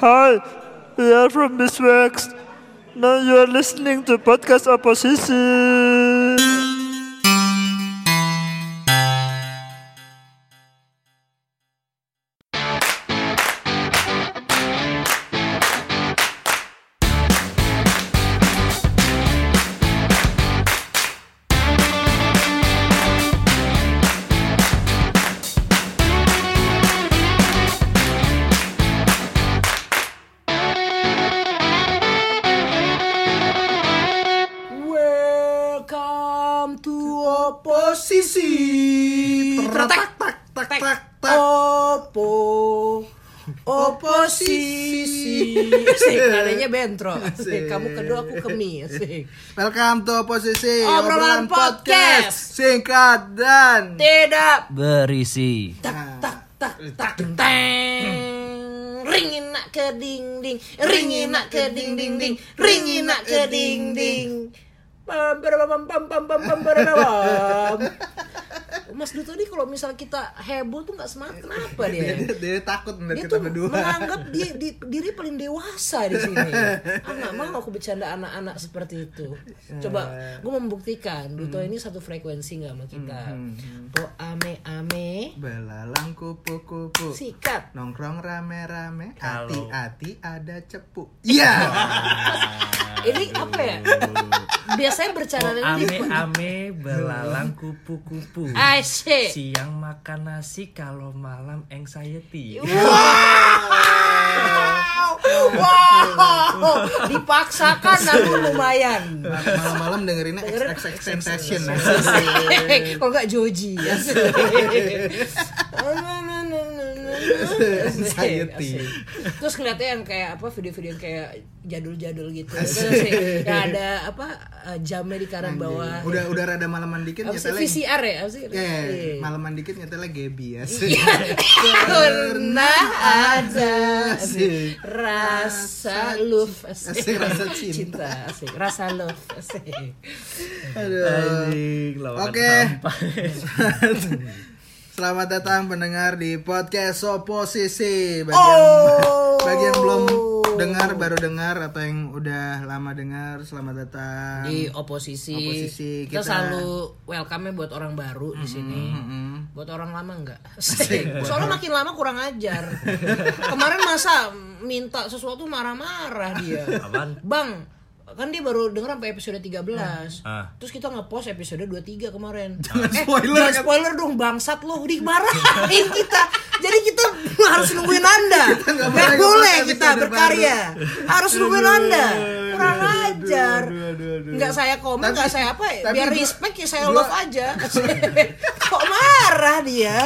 Hi, we are from Miswax. Now you are listening to podcast oposisi. Welcome to oposisi. tak tak tak tak tak Opo. Oposisi. Asik, nadanya bentro. Asik, kamu kedua aku kemi. Asik. welcome to posisi Obrolan podcast. singkat dan Tidak berisi tak Ah. tak tak tak teng. Ringin nak ke ding ding, ringin nak ke ding ding ding, ringin nak ke ding ding. Pam pam pam pam pam pam pam pam, pam. Mas Duto ini kalau misal kita heboh tuh nggak semangat kenapa dia? dia, dia takut Dia melihat Nah, kita tuh berdua menganggap dia, di- diri paling dewasa di sini. Anak mau aku bercanda anak-anak seperti itu. Coba Eh. gue membuktikan Duto Hmm. ini satu frekuensi nggak sama kita. Po ame ame belalang kupu kupu sikat nongkrong rame rame hati Kalau- hati ada cepu iya ini apa ya biasanya bercanda ame ini ame belalang kupu kupu Asik. siang makan nasi kalau malam anxiety wow wow dipaksakan namun lumayan malam-malam dengerinnya XXX Temptation Asik. kok nggak Joji ya. Asik. Anxiety. Asik. terus ngeliatnya yang kayak apa video-video yang kayak jadul-jadul gitu Asik. Yang ada apa eh, jamnya di kanan bawah udah kan udah rada malaman dikit apa sih nyetelnya VCR ya apa sih Eh, Iya. malaman dikit nyetelnya Gaby ya Pernah ada Asik. rasa love asik. Asik, rasa cinta. asik. rasa love asik. Aduh. Anjing, lawakan Oke. sampah. Selamat datang pendengar di podcast Oposisi. Bagi, Oh. yang, bagi yang belum dengar, baru dengar atau yang udah lama dengar, selamat datang. di oposisi, Nah. Oposisi kita, kita. selalu welcome buat orang baru di sini Mm-mm. buat orang lama enggak soalnya makin lama kurang ajar kemarin masa minta sesuatu marah-marah dia Apaan? bang kan dia baru denger sampai episode 13 Ah. terus kita nge-post episode 23 kemarin eh, spoiler, jangan spoiler dong bangsat lo dimarahin kita jadi kita harus nungguin anda nggak nggak boleh boleh nge-post kita episode berkarya harus nungguin anda kurang aduh, aduh, ajar aduh, aduh, aduh. nggak saya komen Tapi- nggak saya apa ya tapi biar gua- respect ya saya gua- love aja kok marah dia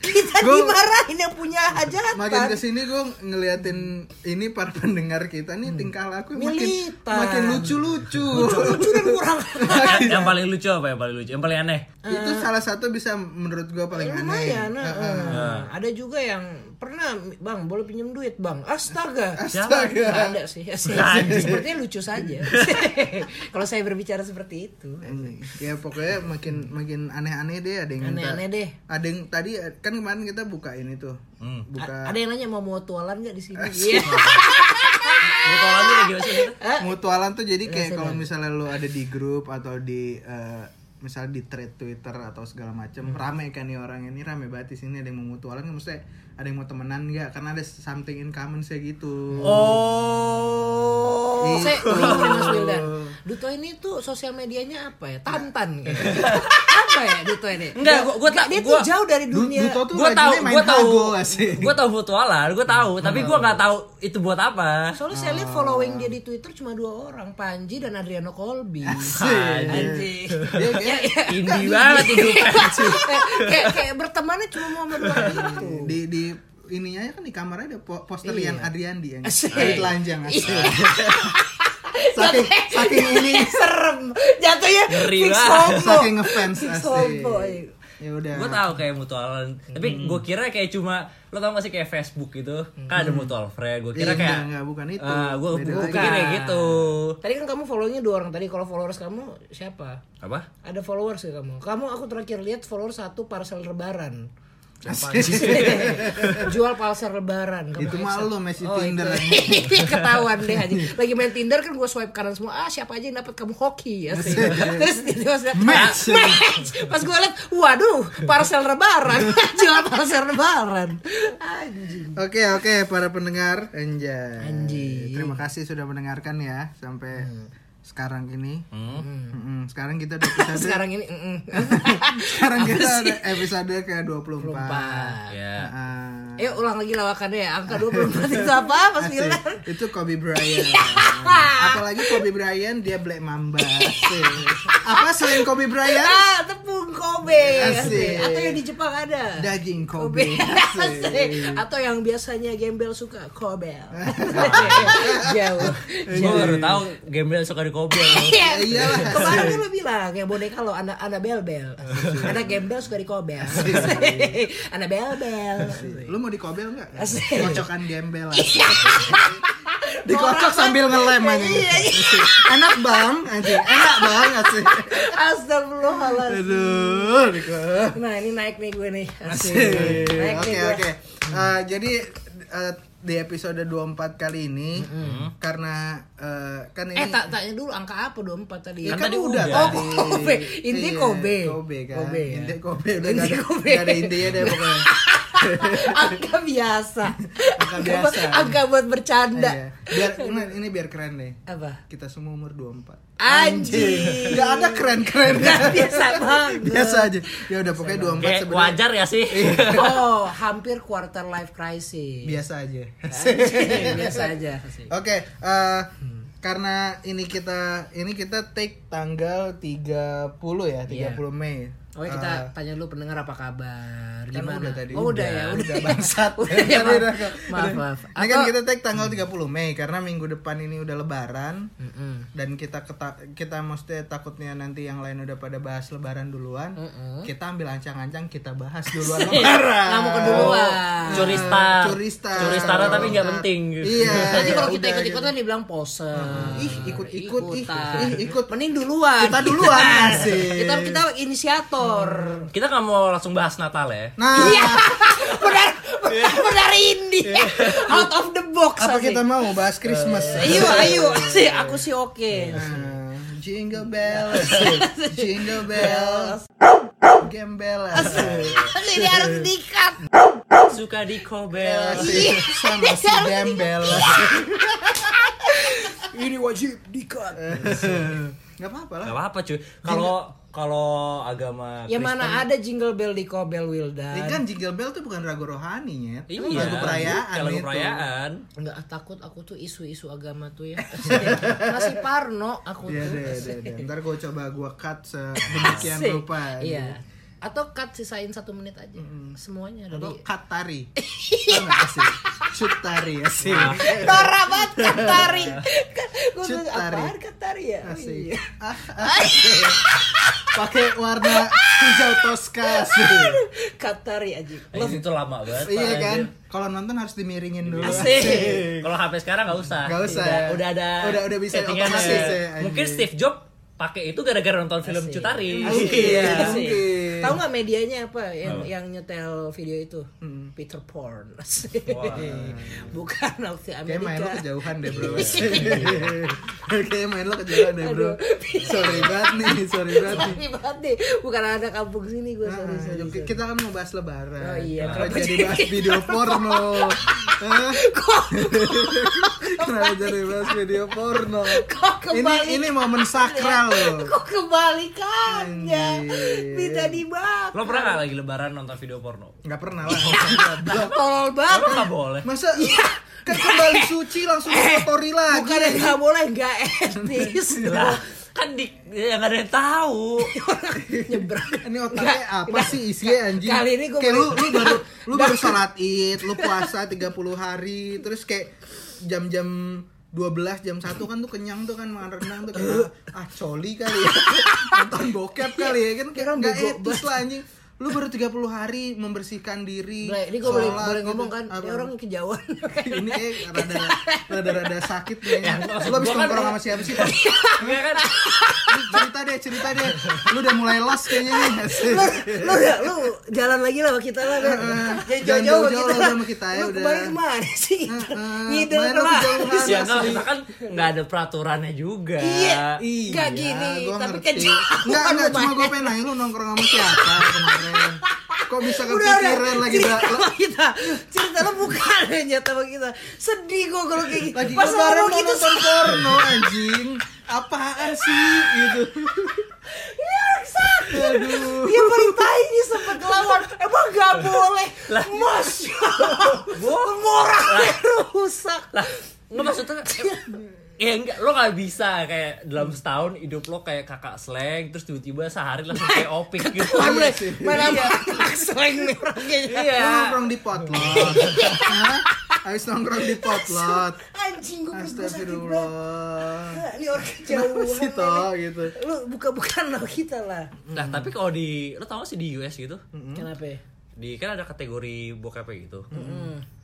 kita Gua- dimarahin yang punya hajatan Makin kesini gue ngeliatin ini para pendengar kita nih Hmm. tingkah laku makin Militan. makin lucu-lucu. lucu dan kurang yang paling lucu apa yang paling lucu yang paling aneh Itu salah satu bisa menurut gue paling aneh. lumayan nah, Ya. eh. ada juga yang pernah bang boleh pinjam duit bang astaga Astaga. Nggak ada sih Nah, Asik. Anjing. sepertinya lucu saja kalau saya berbicara seperti itu Anjing. Ya pokoknya makin makin aneh-aneh deh ada yang minta- aneh-aneh deh Ada yang tadi kan kemarin kita buka ini tuh. A- Buka ada yang nanya mau mutualan nggak di sini iya mutualan itu kayak gimana sih maksudnya? Eh. mutualan tuh Iya, jadi kayak kalau misalnya lu ada di grup atau di eh, misalnya di thread Twitter atau segala Hmm. macem rame kan nih orang ini rame banget di sini ada yang mau mutualan nggak maksudnya ada yang mau temenan nggak karena ada something in common sih gitu Iya. oh Iya, saya bingung Mas Wildan Duto ini tuh sosial medianya apa ya tantan Nah. gitu apa ya Duto ini Enggak, gua- gua Nggak, tak- dia tuh gua- jauh dari Du- dunia Duto tuh gue tahu rajinnya main gue tahu hago, asik. gue tahu mutualan gue tahu Hmm. tapi gue nggak tahu itu buat apa Soalnya saya Ah. lihat following dia di Twitter cuma dua orang, Panji dan Adriano Colby. Asik. Anjing. Dia kayak- indie banget hidupnya Iya, kayak kayak bertemannya cuma mau berdua itu. Kan di di ininya kan di kamarnya ada po- poster Iya. Lian Adriandi yang Asik. dari telanjang asik. Iya. saking saking ini Serem. Jatuhnya Ngeri fix banget. homo. saking ngefans Fix asik. homo. Ya udah. gue tahu kayak mutualan tapi gue kira kayak cuma lo tau gak sih kayak Facebook gitu kan ada mutual friend gue Iya, kira kayak eh, enggak, enggak, bukan itu. gue Beda gue lagi. Iya. pikir kayak gitu Tadi kan kamu followingnya dua orang tadi. Kalau followers kamu siapa? apa Ada followers ya kamu? Kamu aku terakhir lihat followers satu parcel lebaran. Jual palser lebaran. itu kemarin. malu Messi Oh, itu. Tinder ketahuan deh aja lagi main Tinder kan gue swipe kanan semua ah siapa aja yang dapat kamu hoki ya sih terus itu maksudnya, iya. Match. ah, match pas gue liat waduh parcel lebaran jual parcel lebaran anjing Oke oke para pendengar Anjay. Anjing. Hmm. Terima kasih sudah mendengarkan ya sampai sekarang ini. Mm-mm. Sekarang kita ada episode sekarang ini mm -mm. sekarang kita ada episode ke 24. Ya. Ah, Ayo ulang lagi lawakannya ya Angka 24 itu apa Mas asik. Bilar? Itu Kobe Bryant. Iya. Apalagi Kobe Bryant dia Black Mamba. Asik. Apa selain Kobe Bryant? Ah, tepung Kobe Ya. Asik. Asik. Atau yang di Jepang ada Daging Kobe Kobe. Asik. Asik. Atau yang biasanya gembel suka Kobel Jauh Iya. Gue baru tahu gembel suka di kobel. Iya. iyalah. Kemarin kan lu bilang ya boneka lo anak anak bel bel, Ah, anak gembel suka dikobel, anak bel bel. Lu mau dikobel nggak? Asik. Kocokan gembel. asik. Dikocok sambil ngelem aja. Iya, Enak bang, anjing. Enak bang, asik. Astagfirullahaladzim. Aduh, Diko. Nah ini naik nih gue nih. Asik. Naik Oke nih gue. oke. Eh, Jadi eh, di episode 24 kali ini karena eh, kan ini Eh tak tanya dulu angka apa 24 tadi? Ya kan Kan tadi udah udah. tadi. Oh, Iya, Kobe. Inti Iya, Kobe. Kobe kan. Kobe, ya. Inti Kobe udah Inti nggak ada, Kobe. nggak ada intinya deh pokoknya. angka biasa. Angka biasa. Angka buat bercanda. Iya. Biar ini, ini biar keren deh. Apa? Kita semua umur 24. Anjing. Gak ada keren-keren. Biasa banget. Biasa aja. Ya udah pokoknya 24 sebenarnya Kayak Iya. wajar ya sih. Oh, hampir quarter life crisis. biasa aja. Iya. biasa aja Oke, eh, karena ini kita ini kita take tanggal 30 ya, 30 Iya. Mei. Oke kita tanya dulu pendengar apa kabar Ah. Kan Gimana? udah tadi. oh, udah ya udah, udah bangsat. Udah ya, Tadi maaf. udah- maaf udah. maaf Ini kan Atau- kita take tanggal 30 Mei karena minggu depan ini udah lebaran. Mm-mm. dan kita keta- kita mesti takutnya nanti yang lain udah pada bahas lebaran duluan kita ambil ancang-ancang kita bahas duluan lebaran Nggak mau keduluan. Oh. Curi star. curista Curi stara tapi nggak penting. iya Nanti ya kalau kita udah, ikut-ikutan dibilang pose ih ikut-ikut ih, Ikutan. ih ikut Mending duluan Kita duluan, asik. Iya. Kita kita inisiator Kita nggak mau langsung bahas Natal ya. nah Iya, Benar benar- benar ini Out of the box Iya. apa asik. Eh, iya. kita mau bahas Christmas Ayo ayo sih aku sih oke Nah, jingle bells jingle bells gembel asik. Asik, Ini harus dikat Suka di kobel. Iya. Asik. sama si gembel Ini wajib dikat Eh, nggak apa-apa lah Gak apa-apa cuy. Kalau kalau agama Ya Kristen- mana ada jingle bell di Kobel Wildan. Ini kan jingle bell tuh bukan lagu rohaninya, Iya, lagu perayaan gitu. bukan Lagu itu. perayaan. Enggak ah, takut aku tuh isu-isu agama tuh ya. Masih parno aku Iya, tuh. deh, deh, deh. Ntar gue coba gue cut sedemikian Asik. rupa. Iya. Atau cut sisain satu menit aja. Semuanya dari Atau cut tari. Iya. Tau nggak sih? Shoot tari ya sih. Dora banget cut tari. Gue Iya. Cut tuh tari. apaan cut tari ya? Oh, Asik. iya. Ah, ah, asik. Pakai warna hijau toska sih. Cut tari aja. Love Eh, itu lama banget. Pak. Iya kan? Kalau nonton harus dimiringin dulu. Asik. Kalau HP sekarang nggak usah. Nggak usah. Udah, udah ada. Udah- udah bisa settingannya. otomatis ya, anjing. Mungkin Steve Jobs pakai itu gara-gara nonton film Asik. Cutari. Iya, Asik. mungkin. Tahu nggak medianya apa yang yang nyetel video itu? Peter Porn. Asik. Bukan Nazi Kayak main lo Amerika. kejauhan deh bro Kayak main lo kejauhan deh bro Sorry banget nih Sorry banget nih Sorry banget deh, bukan ada kampung sini gue sorry Ah, sorry. yuk, sorry. kita kan mau bahas lebaran. Oh iya, Kenapa kenapa jadi gitu? jadi- bahas video porno? Hah? Kok Kenapa jadi bahas video porno? Kok Ini kebalik? ini momen sakral loh. kok kebalikannya? Anjir. Minta dibak. Lo pernah nggak lagi lebaran nonton video porno? Gak pernah lah. Goblok. Tolol Lo banget. nggak boleh. Masa kan kembali suci langsung kotori lagi. Bukan yang nggak boleh nggak etis. Lah, kan di ya nggak ada yang tahu. Nyebrang. Ini otaknya apa sih isinya anjing? Kali ini gua kayak lu baru- lu baru lu baru salat Id, lu puasa 30 hari, terus kayak jam-jam 12 jam 1 kan tuh kenyang tuh kan makan renang tuh ah, kayak ah coli kali ya. nonton bokep kali ya kan kayak Kan nggak bego etis lah anjing lu baru 30 hari membersihkan diri Boleh, ini gue boleh, sholat boleh gitu. ngomong kan, Apa? ini orang kejauhan ini kayak rada rada rada sakit nih Ya, maksud lu habis gua kan- nongkrong sama siapa sih Tan? Enggak kan? Lu cerita deh cerita deh lu udah mulai las kayaknya nih lu, lu, udah, lu jalan lagi lah sama kita lah Dan. Jangan jauh-jauh sama Ah, jauh-jauh kita lah lah sama kita ya, Lu udah. kemarin kemana sih? Heeh, Ngidul kemarin kelas. aku jauhan. Ya enggak, Asli. kita kan enggak ada peraturannya juga. Iya. Iya, Gak gini, gua tapi ngerti. kejauhan Enggak, enggak, cuma rumahnya. gue pengen nanya lu nongkrong sama siapa kemarin Kok bisa Udah, udah, kepikiran lagi cerita Mbak? sama kita Cerita lu bukan aja sama kita Sedih gue kalau kayak gitu Lagi Pas lu kemarin ngomong mau gitu nonton porno anjing Apaan sih gitu Aduh Dia paling tai nih sempet ngelawan Emang gak boleh Masya Allah Moralnya rusak Iya. Lah, enggak maksudnya eh, em- Ya enggak, lo gak bisa kayak dalam setahun hidup lo kayak kakak slang Terus tiba-tiba sehari langsung kayak opik gitu Wah, mulai sih. Iya. main sama anak slang nih orangnya. Lu Iya nongkrong di potlot Hah? Habis nongkrong di potlot Anjing gue perut gue sakit banget. Astagfirullah Ini orang Kenapa kejauhan. sih toh gitu Lu buka-bukaan lah kita lah. Nah tapi kalau di, lo tau gak sih di US gitu Kenapa? ya? di kan ada kategori bokep gitu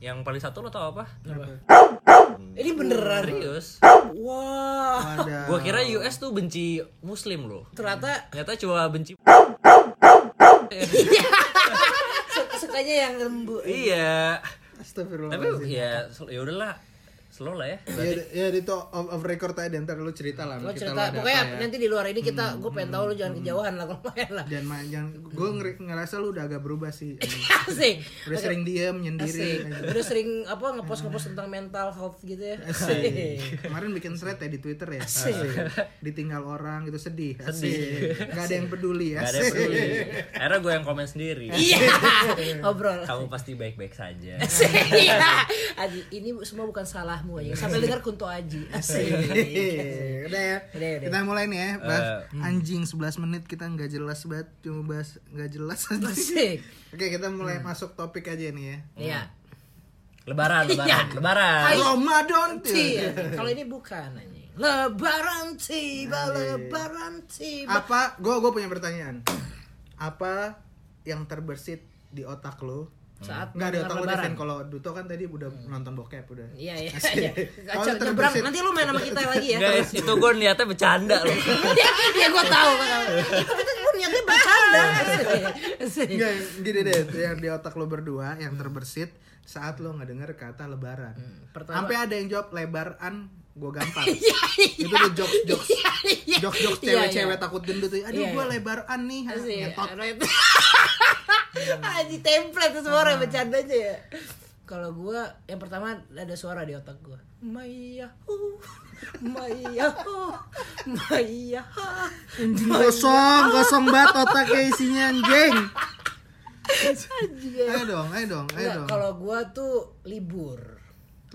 yang paling satu lo tau apa Ini beneran. serius Wah. Ada gua kira US tuh benci muslim loh Ternyata ternyata cuma benci su- sukanya yang lembu. iya Astagfirullah Iya, tapi ya sel- ya udahlah slow lah ya Ya, ya itu off, off record aja ntar lu cerita lah Lo sama kita cerita lah ada pokoknya apa ya. Hmm. nanti di luar ini kita gue pengen tahu lu jangan kejauhan lah kalau main lah. dan ma- jangan gue ngerasa lu udah agak berubah sih Asik. udah sering diem Asik. nyendiri gitu. Udah sering apa ngepost-ngepost tentang mental health gitu ya. Asik. kemarin bikin thread ya di twitter ya Asik. ditinggal orang gitu sedih asik nggak ada yang peduli ya Gak ada yang peduli akhirnya gue yang komen sendiri Iya. Ngobrol. kamu pasti baik-baik saja Iya. Aji, ini bu- semua bukan salahmu aja. Sampai dengar kunto Aji. Asik. udah ya Udah, udah. kita mulai nih ya bahas anjing 11 menit kita nggak jelas banget cuma bahas nggak jelas aja. Asik. oke kita mulai masuk topik aja nih ya Iya. lebaran Iya. lebaran lebaran Ramadan tuh Iya. Kalau ini bukan anjing. Lebaran tiba, lebaran tiba. apa gue gue punya pertanyaan apa yang terbersit di otak lo Saat nggak di mendengar otak lo lebaran. Devin kalau Duto kan tadi udah nonton bokep udah Iya, iya. Asik. iya. Kalau Kacau, terbersit- nyebrang. Nanti lu main sama kita lagi ya. guys itu gue niatnya bercanda loh Iya, gua tahu. gua tahu. Tapi kan gua niatnya bercanda. Asik. Nggak, gini deh yang di otak lo berdua yang terbersit saat lo nggak dengar kata lebaran pertama- sampai ada yang jawab lebaran gue gampar itu tuh jokes jokes jokes jokes Iya, iya. cewek-cewek takut gendut tuh aduh Iya, gue iya. lebaran nih Ah, Asik. ngetot Ada ya, itu. Aji template tuh semua orang bercandanya ya. Kalau gua yang pertama ada suara di otak gua. Mayahu, mayahu, mayahu. Anjing, Oh, kosong iya. kosong banget otaknya isinya anjing Aji. ayo dong ayo dong ayo Enggak, dong kalau gua tuh libur.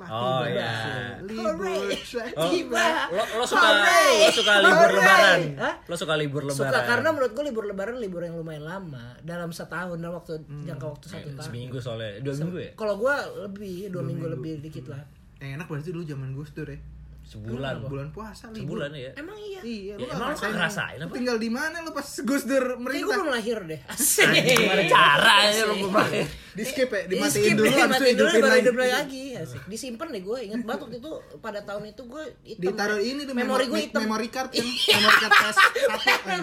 Lah, Oh, tiba iya. sih. libur Hooray. Shay. Tiba. lo, Oh, lo suka lo suka Iya. libur Hooray. lebaran Hah? lo suka libur lebaran Suka karena menurut gua libur lebaran libur yang lumayan lama dalam setahun dalam waktu jangka waktu satu tahun. seminggu soalnya dua minggu ya Kalau gua lebih dua, minggu, lebih dikit lah. yang Eh, enak berarti dulu zaman Gus Dur ya sebulan bulan puasa libur sebulan ya Emang iya. iya lu Ya, nggak emang lu nggak ngerasain Lu apa? tinggal di mana lu pas Gus Dur Kayak gue merintah belum lahir deh. Ah, Asik. gimana ya Iya. caranya lo kemarin di skip ya Di dimatiin skip dulu deh, habis matiin itu dulu hidupin baru lagi hidup lagi. Asik. Disimpan deh gue. Ingat banget waktu itu pada tahun itu gue hitam. ditaruh ini tuh memori gue me- hitam. memory card kan memory card PS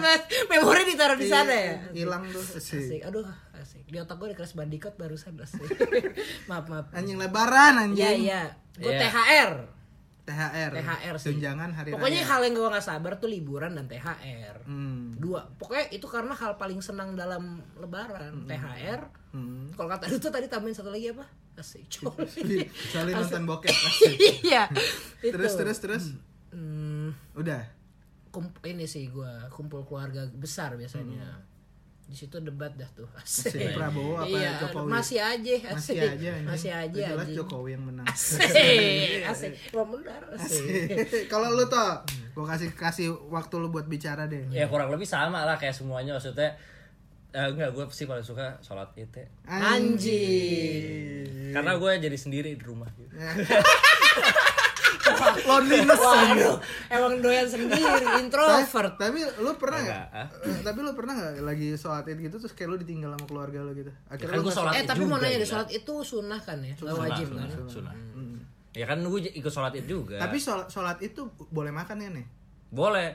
Mas, memori ditaruh di sana ya. hilang tuh Asik. Asik. Aduh, asik. Di otak gue ada kelas bandikot barusan asik. maaf, maaf. anjing lebaran Iya, anjing iya. Gue Iya. THR. THR THR sih. tunjangan hari Pokoknya raya hal yang gue gak sabar tuh liburan dan THR. Hmm. Dua. Pokoknya itu karena hal paling senang dalam lebaran. THR. Hmm. Kalau kata itu tadi tambahin satu lagi apa? Asik. Coli. Kecuali nonton bokep asik. Iya. itu. terus terus terus Hmm, udah kump- ini sih gua kumpul keluarga besar biasanya. Hmm. Di situ debat dah tuh. Asik. si Prabowo apa Iya, Jokowi masih aja masih asik. aja anjing. Masih aja. jelas anjing. Jokowi yang menang Asik. Asik. Wah, benar, asik. Hmm. kalau lu tuh gua kasih kasih waktu lu buat bicara deh ya kurang lebih sama lah kayak semuanya maksudnya eh, enggak gue sih paling suka sholat id ya. Anjing. Iya. karena gue jadi sendiri di rumah gitu. loneliness Waduh, emang doyan sendiri, introvert. tapi lu pernah Enggak, nggak eh, tapi lu pernah nggak lagi sholat id gitu terus kayak lu ditinggal sama keluarga lu gitu Ya kan akhirnya lu gua sholat Eh id tapi mau juga, ya. nanya deh, gila. sholat itu sunnah kan ya? Nggak Sunah, wajib sunah, kan? sunah. Ya kan gue ikut sholat id juga. tapi sholat, sholat itu boleh makan ya nih boleh.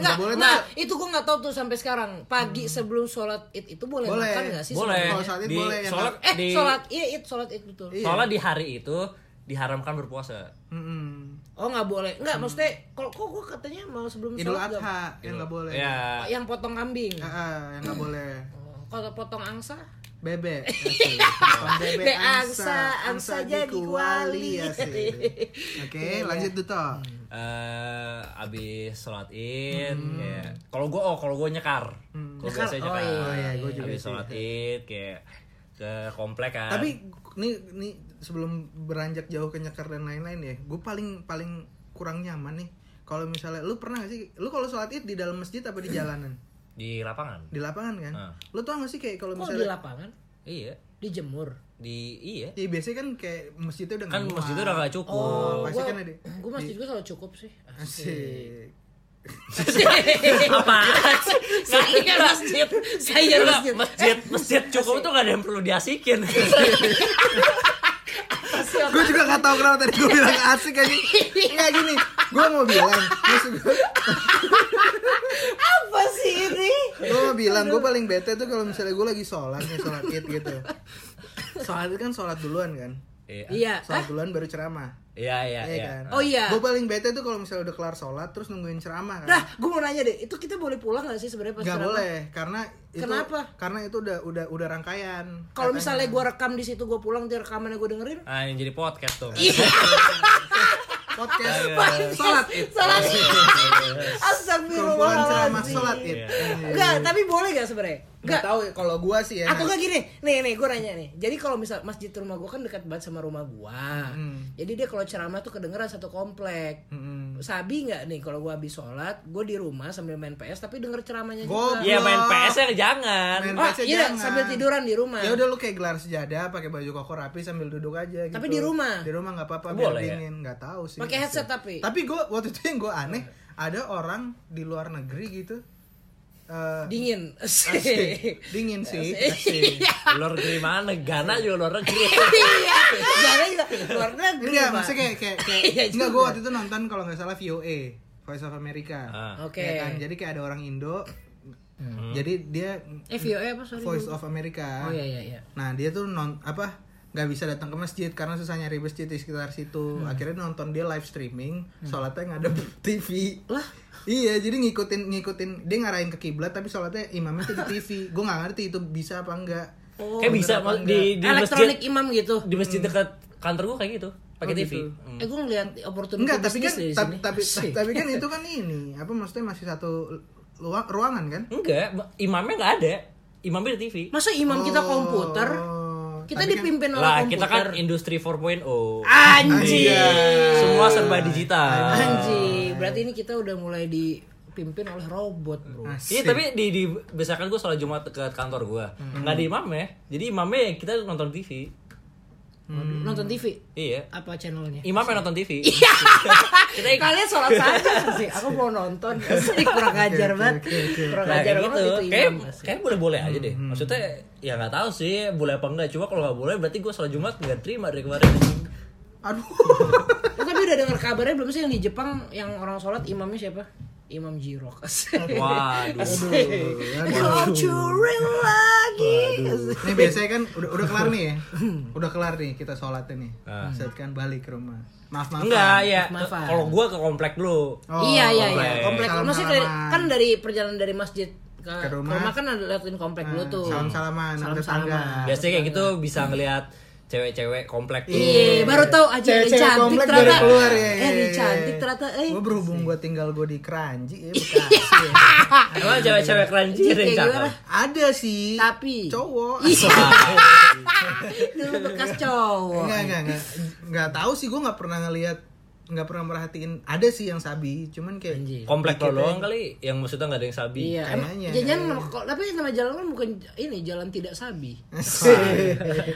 Nggak, nggak boleh nah, tuh- itu gue nggak tahu tuh sampai sekarang. Pagi sebelum sholat id itu boleh, Boleh. makan nggak sih? boleh. Kalau sholat id Di- boleh, yang sholat- sebenarnya? Eh, di, sholat iya id, sholat id betul. Iya. Soalnya di hari itu diharamkan berpuasa. Mm-mm. Oh nggak boleh, nggak maksudnya kalau kok gue katanya mau sebelum idul sholat nggak- Oh, iya. adha yang nggak boleh Ya. yang potong kambing, Oh, Ah, ah, yang nggak boleh kalau potong angsa, bebek Be angsa, angsa jadi kuali. Hmm. ya sih. oke lanjut tuh toh eh abis sholat id kayak kalau gue oh kalau gue nyekar kalau Nyekar, biasanya oh nyekar iya, iya, gua juga abis sih. sholat id kayak ke komplek kan tapi nih nih sebelum beranjak jauh ke nyekar dan lain-lain ya gue paling paling kurang nyaman nih kalau misalnya lu pernah gak sih lu kalau sholat id di dalam masjid apa di jalanan di lapangan di lapangan kan Ah. lu tau gak sih kayak kalau kok di misalnya lapangan, iya dijemur. di iya ya biasanya kan kayak masjidnya udah kan nggak masjid itu muat. udah gak cukup Oh, pasti Gue kan ada- gue masjid gue selalu cukup sih. asik apa Saya masjid, saya masjid masjid. masjid masjid cukup itu gak ada yang perlu diasikin Eh, gue juga gak tahu kenapa tadi gue bilang asik aja nggak gini gue mau bilang Apa sih ini? gue mau bilang gue paling bete tuh kalau misalnya gue lagi sholat nih sholat id gitu sholat itu kan sholat duluan kan iya Iya. sholat duluan baru ceramah iya iya Iya iya kan? Oh iya. Gue paling bete tuh kalau misalnya udah kelar sholat terus nungguin ceramah kan. Nah, gue mau nanya deh, itu kita boleh pulang gak sih sebenarnya pas Gak ceramah? boleh karena itu Kenapa? karena itu udah udah udah rangkaian. Kalau katanya. misalnya gue rekam di situ, gue pulang, di rekamannya gue dengerin. ah yang jadi podcast tuh Iya. podcast Iya. Salat, salat. kumpulan Iya. ceramah sholat Astagfirullahaladzim. itu. Enggak, tapi boleh gak sebenarnya? Enggak. Gak tahu ya, kalau gua sih ya. Atau gak gini, nih nih gue nanya nih. Jadi kalau misal masjid rumah gue kan dekat banget sama rumah gue. Hmm. Jadi dia kalau ceramah tuh kedengeran satu komplek. Mm-mm. Sabi nggak nih kalau gue habis sholat, gue di rumah sambil main PS tapi denger ceramahnya Gua- juga. iya main PS nya jangan Main Oh, PS -nya iya, jangan. sambil tiduran di rumah. Ya udah lu kayak gelar sejadah pakai baju koko rapi sambil duduk aja gitu. Tapi di rumah? Di rumah nggak apa-apa biar Boleh ya? dingin, nggak tahu sih. Pakai headset tapi? Tapi gua waktu itu yang gua aneh ada orang di luar negeri gitu. eh, Dingin. asik. dingin sih. asik. luar negeri mana Ghana juga luar negeri Iya, jangan juga luar negeri. Enggak, Gitu Pak. Iya, maksudnya kayak kayak, kayak Iya enggak juga. gua waktu itu nonton kalau nggak salah VOA, Voice of America. Ah. Oke. Ya kan? Jadi kayak ada orang Indo. Jadi dia Eh, VOA apa sorry? Voice dulu. of Oh America. iya iya iya. Nah, dia tuh non apa nggak bisa datang ke masjid karena susah nyari masjid di sekitar situ. Hmm. Akhirnya nonton dia live streaming, sholatnya ngadep TV. Lah? Iya, jadi ngikutin ngikutin dia ngarahin ke kiblat tapi sholatnya imamnya tuh di TV. Gua nggak ngerti itu bisa apa enggak. Oh. kayak bisa Bener apa di di masjid Elektronik imam gitu. di masjid dekat kantor gua kayak gitu pakai Oh, TV gitu. Hmm. Eh, gue ngeliat opportunity Enggak, tapi kan bisnis deh di tapi sini. tapi, Asik. tapi kan itu kan ini apa maksudnya masih satu luang, ruangan kan? enggak ba- imamnya nggak ada imamnya di TV Masa imam kita Oh, komputer? Kita tapi kan- dipimpin oleh lah komputer. kita kan industri 4.0 Anjing. Iya. semua serba digital Anjing. Berarti ini kita udah mulai dipimpin oleh robot, Bro. Iya Asik. tapi di, di biasakan gue sholat jumat ke kantor gua Hmm. nggak ada imamnya jadi imamnya ya kita nonton TV Hmm. Nonton TV iya apa channelnya? imamnya nonton TV Iya. kita Ah, kalian sholat saja sih aku mau nonton Asik, kurang ajar banget kurang Nah, ajar kayak banget gitu. itu Kayak imam Hmm. kayak boleh-boleh aja deh. Maksudnya ya nggak tahu sih boleh apa enggak. Cuma kalau nggak boleh berarti gue sholat Jumat nggak terima dari kemarin. Aduh. Lo tapi udah dengar kabarnya belum sih yang di Jepang yang orang sholat imamnya siapa Imam Jirok Asik. Waduh. Curi lagi Ini biasanya kan udah udah kelar nih ya. Udah kelar nih kita sholatnya nih. Ah. Set kan balik ke rumah. Maaf maaf. Enggak ya. Maaf-maafan. Kalau gue ke komplek dulu. iya iya iya komplek komplek. Oh, Salam maksudnya dari- salaman. kan dari perjalanan dari masjid ke, Ke rumah. Hmm, rumah. kan ada liatin komplek dulu tuh Salam salaman Salam-salaman. Biasanya kayak gitu bisa ngelihat cewek-cewek komplek tuh. Iya, baru tahu aja yang Cewek-cewek cantik komplek ternyata. baru keluar ya. Eh, yang cantik ternyata eh. Gue berhubung gue tinggal gue di Keranji ya Bekasi ya. Emang cewek-cewek keren Iya, yang kayak cakep. gimana? Ada sih Tapi- Iya. Cowok Nah, Dulu bekas cowok. Enggak enggak enggak Enggak tahu sih gue nggak pernah ngelihat nggak pernah merhatiin ada sih yang sabi cuman kayak Anjing. komplek lo dikit doang aja. kali yang maksudnya nggak ada yang sabi Iya, emang Kayaknya. jajan nama- kalau- tapi nama jalan kan bukan j- ini jalan tidak sabi. Asik.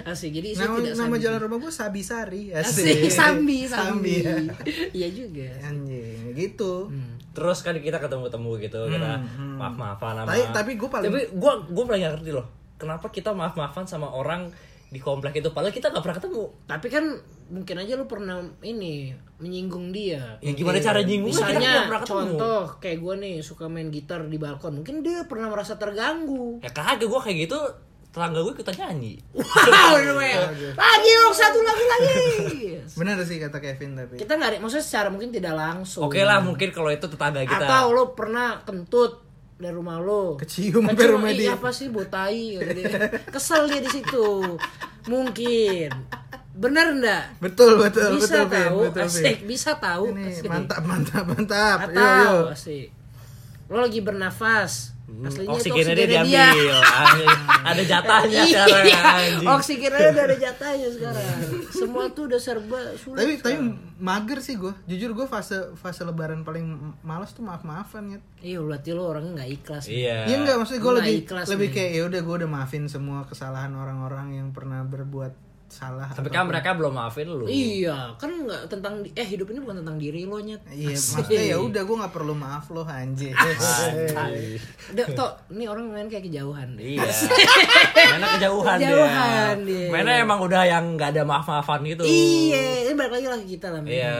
Asik. Jadi isinya nama, tidak nama sabi. jalan rumah gue sabi sari Asik, sambi, sambi. Hmm. ya. Iya juga. anjing gitu terus kan kita ketemu ketemu gitu kita Hmm, maaf maafan sama tapi tapi gue paling tapi gue gue pernah nggak ngerti loh kenapa kita maaf maafan sama orang di komplek itu padahal kita nggak pernah ketemu Tapi kan mungkin aja lu pernah ini menyinggung dia. ya gimana cara nyinggung Misalnya contoh kayak gue nih suka main gitar di balkon, mungkin dia pernah merasa terganggu. ya kagak gue kayak gitu tetangga gue ikutan nyanyi Wow, Noel. lagi dong satu lagi lagi. benar sih kata Kevin tapi Kita nggak, ada- maksudnya secara mungkin tidak langsung. oke lah mungkin kalau itu tetangga kita Atau lo pernah kentut dari rumah lo. Kecium sampai Kecium, rumah "Ih, dia." Apa sih botai? kata dia. Kesel dia di situ. Mungkin. Benar enggak? betul betul bisa betul Vin, tahu, betul Vin. asik, bisa tahu. Ini, asik. mantap mantap Iya, mantap Atau yo yo asik. Lo lagi bernafas. Aslinya itu Hmm, oksigennya dia oksigennya dia. Oh, diambil Anjing. ada jatahnya Iya, sekarang anjing oksigennya udah ada jatahnya sekarang. Semua tuh udah serba sulit. tapi tapi sekarang. mager sih gue jujur gue fase fase lebaran paling males tuh maaf maafan ya iya berarti lo orangnya nggak ikhlas. iya Iya enggak maksudnya gue Nggak lebih ikhlas lebih nih. kayak ya udah gue udah maafin semua kesalahan orang-orang yang pernah berbuat salah. tapi atau- kan mereka belum maafin lu Iya, kan nggak tentang di- eh hidup ini bukan tentang diri lo nyet. Iya, maksudnya ya udah gue nggak perlu maaf loh anjir. Ah, Anjing. Udah, Tok, ini orang main kayak kejauhan deh. Iya. Mainnya kejauhan, Kejauhan dia. dia. Mainnya emang udah yang nggak ada maaf-maafan gitu. Iya, ini balik lagi lah ke kita lah. men. Iya.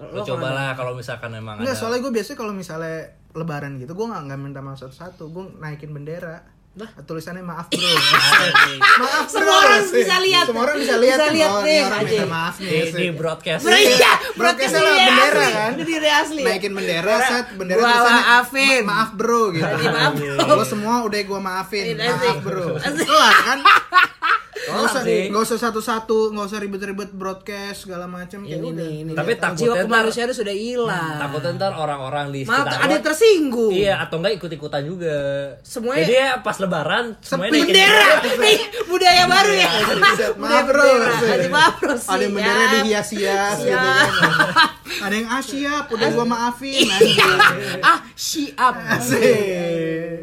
Kalau Lu lo kalau- cobalah kalau misalkan emang Enggak ada. soalnya gue biasanya kalau misalnya lebaran gitu gue nggak nggak minta maaf satu-satu, gue naikin bendera. Lah? Tulisannya maaf bro. maaf bro. Iya, Semua orang bisa lihat. Semua orang bisa lihat. Bisa kan, lihat oh, ini nih, orang anjing. minta maaf nih. di, asik. di broadcast. Bro, iya, Broadcast broadcast lah, diri bendera asli. kan? Diri asli. ya? naikin bendera Bendera. set bendera Gua tulisannya, maafin. "Ma- maaf bro gitu Berarti maaf, bro. lo semua udah gua maafin Iya, maaf asik. bro Asik. kelar kan nggak Kelar usah sih. nggak usah satu-satu nggak usah ribet-ribet broadcast segala gitu. macam Ini nih, ini. Tapi nih. takutnya jiwa ntar- Hmm, kemanusiaan sudah hilang. Takutnya ntar orang-orang di Maaf, sekitar ada yang lo- tersinggung. Iya, atau enggak ikut-ikutan juga. Semuanya- Jadi ya pas lebaran semuanya Sepi. gitu. naikin Bendera, nih budaya baru ya. Budaya maaf bro bendera. Ada Asik. maaf bro sih. ada yang bendera ya. dihias-hias gitu kan. ada yang asyap udah gua maafin Nah, Iya. anjing. Ah, siap. Asik.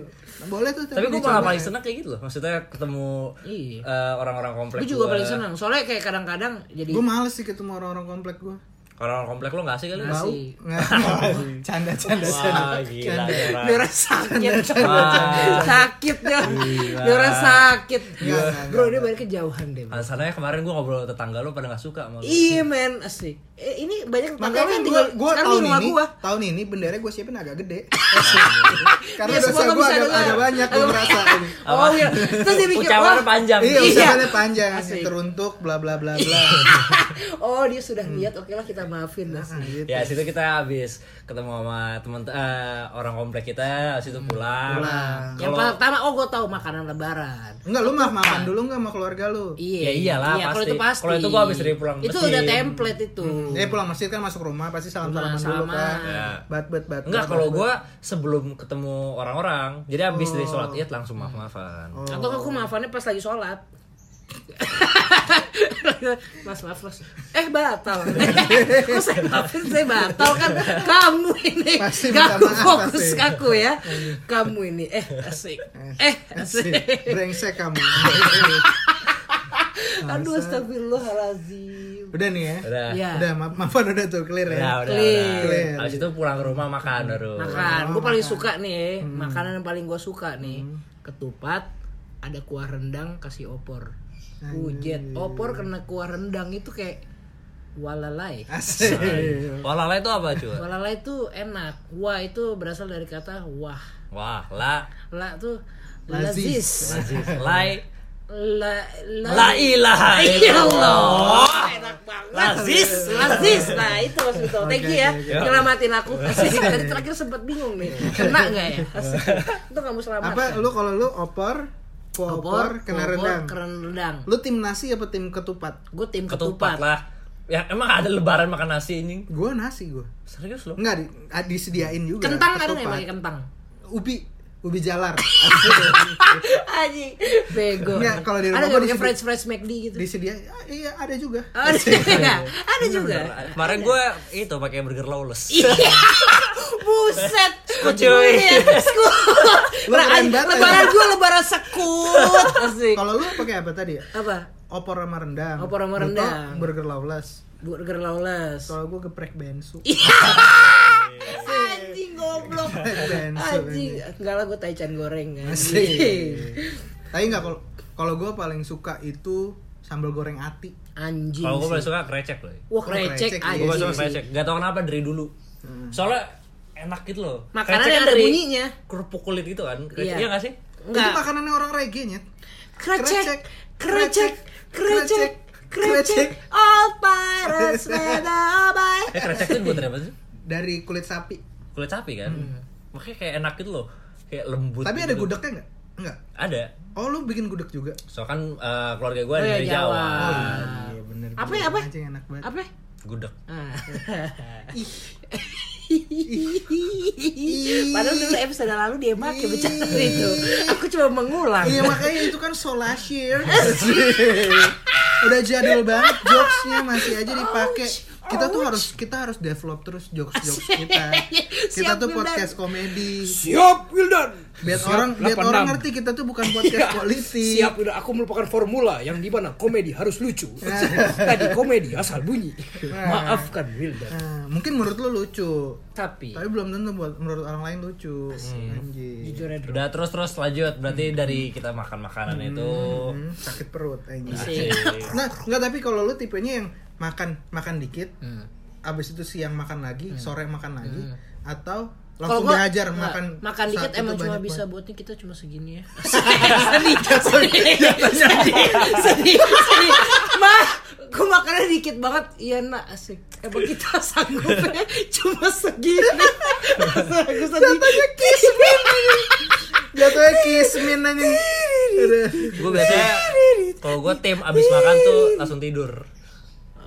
Nah, boleh tuh Tapi gue dicoba. malah paling seneng kayak gitu loh. Maksudnya ketemu Iya. eh, orang-orang komplek. Gue juga gua. paling senang. Soalnya kayak kadang-kadang jadi gua males sih ketemu orang-orang komplek gua Orang-orang komplek lo nggak sih kali? Nggak Bau. sih. Nggak. canda canda canda Wah, gila. Canda. Dora. Dora sakit. Wah. sakit dia. Iya. Dora sakit. Gila. Bro, dia balik kejauhan deh. bro. Alasannya kemarin gue ngobrol sama tetangga lo pada nggak suka sama lo. Iya men, asik. Eh, ini banyak tetangga Makanya yang gue tinggal gua sekarang di tahun rumah ini gua. tahun ini bendera gue siapin agak gede. Iya, Karena semua dosa nggak gue bisa agak, dengar. agak banyak gue Agak merasa. ini. Oh iya, terus dia pikir, Ucapannya wah, panjang. Iya, Iya. usahaannya panjang, Asik. teruntuk, bla bla bla bla. oh dia sudah niat, oke lah kita maafin lah. Gitu. Ya situ kita habis ketemu sama teman eh, orang komplek kita, habis itu Hmm, pulang. Pulang. Yang Kalau pertama, oh gue tahu makanan lebaran. Enggak, lu maaf maafan dulu enggak sama keluarga lu? Iya, Ya iyalah, iya, Kalau pasti. itu pasti. Kalau itu gua habis dari pulang Hmm. Itu mesin. udah template itu. Dia pulang masjid kan masuk rumah pasti salam-salaman Nah, dulu salaman. kan. Ya. Bat bat bat. enggak bat, kalau bat, gue sebelum ketemu orang-orang, jadi habis dari sholat Oh. id langsung maaf-maafan. Atau aku maafannya pas lagi sholat. mas maaf mas eh batal kok saya maafin saya batal kan kamu ini Pasti minta kamu maaf, fokus pasti. ke aku ya kamu ini eh asik eh Asik. asik Brengsek kamu. aduh astagfirullahalazim udah nih ya. Udah. Iya. Udah, maaf maafan udah tuh clear ya. Udah, udah, Clear. udah. Habis itu pulang ke rumah makan baru. makan gue paling suka nih makanan yang paling gue suka nih ketupat ada kuah rendang kasih opor ujet opor kena kuah rendang itu kayak walalai Asik. Walala itu apa cuy? walalai itu enak wah itu berasal dari kata wah Wah, la, la tuh Lazis. lazis lazis, lai, la Ya la ilaha illallah. enak banget Lazis. lazis nah itu mas Vito thank you ya Oke, oke. nyelamatin aku Asik, dari terakhir sempat bingung nih kena nggak ya Asik. itu kamu selamat Apa lu kalau lu opor, kuah opor, kena rendang. keren rendang Lu tim nasi apa tim ketupat? gue tim ketupat, Ketupat lah. Ya emang ada lebaran makan nasi ini. Gua nasi gua. Serius lo? Enggak di- ah, disediain juga. kentang iya. ada nggak Iya, ketupat. yang pakai kentang Ubi. ubi jalar. Anjing. Bego. Nggak, kalau di rumah Ada gua nggak di punya situ- Iya. French French McD gitu? Oh, Disedia, ah, iya ada juga. Ada, ada, ada juga. Kemarin gue itu pakai burger lawless. Iya. Buset. Iya, Sekut Cuy. duit. Sekut. Lu keren banget, Lebaran ya. gue lebaran sekut. Asik. Kalau lu pakai apa tadi ya? Apa? Opor sama rendang. Opor sama Buto, rendang. burger lawless. Burger lawless. Kalau gua geprek bensu. Anjing goblok. Geprek bensu. Anjing. Enggak lah gue taichan goreng. Asik. Anjing. Tapi nggak kalau kalau gue paling suka itu sambal goreng ati. Anjing. Kalau gue paling sih. suka krecek loh. Wah recek Krecek, iya. Hmm. Gue paling suka anjing. sih. krecek. Gak tau kenapa dari dulu. Soalnya enak gitu loh. Makanan Krecek yang kan ada dari bunyinya. Kerupuk kulit itu kan. Iya. Krecek, iya gak sih? Enggak. Itu makanannya orang reggae nyet. Krecek, Krecek, krecek, krecek, krecek. krecek, all pirates let by. Eh krecek itu buat dari apa sih? Dari kulit sapi. Kulit sapi kan. Makanya kayak enak gitu loh. Kayak lembut. Hmm. Tapi gitu ada loh. gudegnya nggak? Enggak. Ada. Oh lu bikin gudeg juga? So kan eh, keluarga gue Oh, iya, dari Jawa. Jawa. Oh Ah. iya bener. Apa, gudeg apa? anjing enak banget. Apa? Gudeg. Ah. Padahal dulu episode lalu dia pakai bercanda itu. Aku cuma mengulang. Iya makanya itu kan so last year. Udah jadul banget jokesnya masih aja dipakai. Kita tuh harus kita harus develop terus jokes-jokes kita. Kita Siap, tuh Wildan. podcast komedi. Siap Wildan. Biar orang biar 86. orang ngerti kita tuh bukan podcast politik. Iya. Siap Wildan. Aku merupakan formula yang di mana komedi harus lucu. Tadi komedi asal bunyi. Maafkan Wildan. Nah, mungkin menurut lu lucu, Tapi tapi belum tentu buat menurut orang lain lucu. Anjing. jujur aja, Udah terus terus lanjut. Berarti dari kita makan makanan itu. Hmm, sakit perut anjing. Asik. Nah, enggak tapi kalau lu tipenya yang makan makan dikit, Hmm. abis itu siang makan lagi, sore makan lagi, atau langsung gua- dihajar Nggak, makan makan saat dikit itu emang cuma banyak bisa banget. buatnya kita cuma segini ya sedih sedih sedih sedih sedih mah gue makannya dikit banget iya nak asik emang kita sanggupnya cuma segini aku sedih jatuhnya kismin anjing. Aduh. Gue biasanya Nah, kalau gue tim abis makan tuh langsung tidur.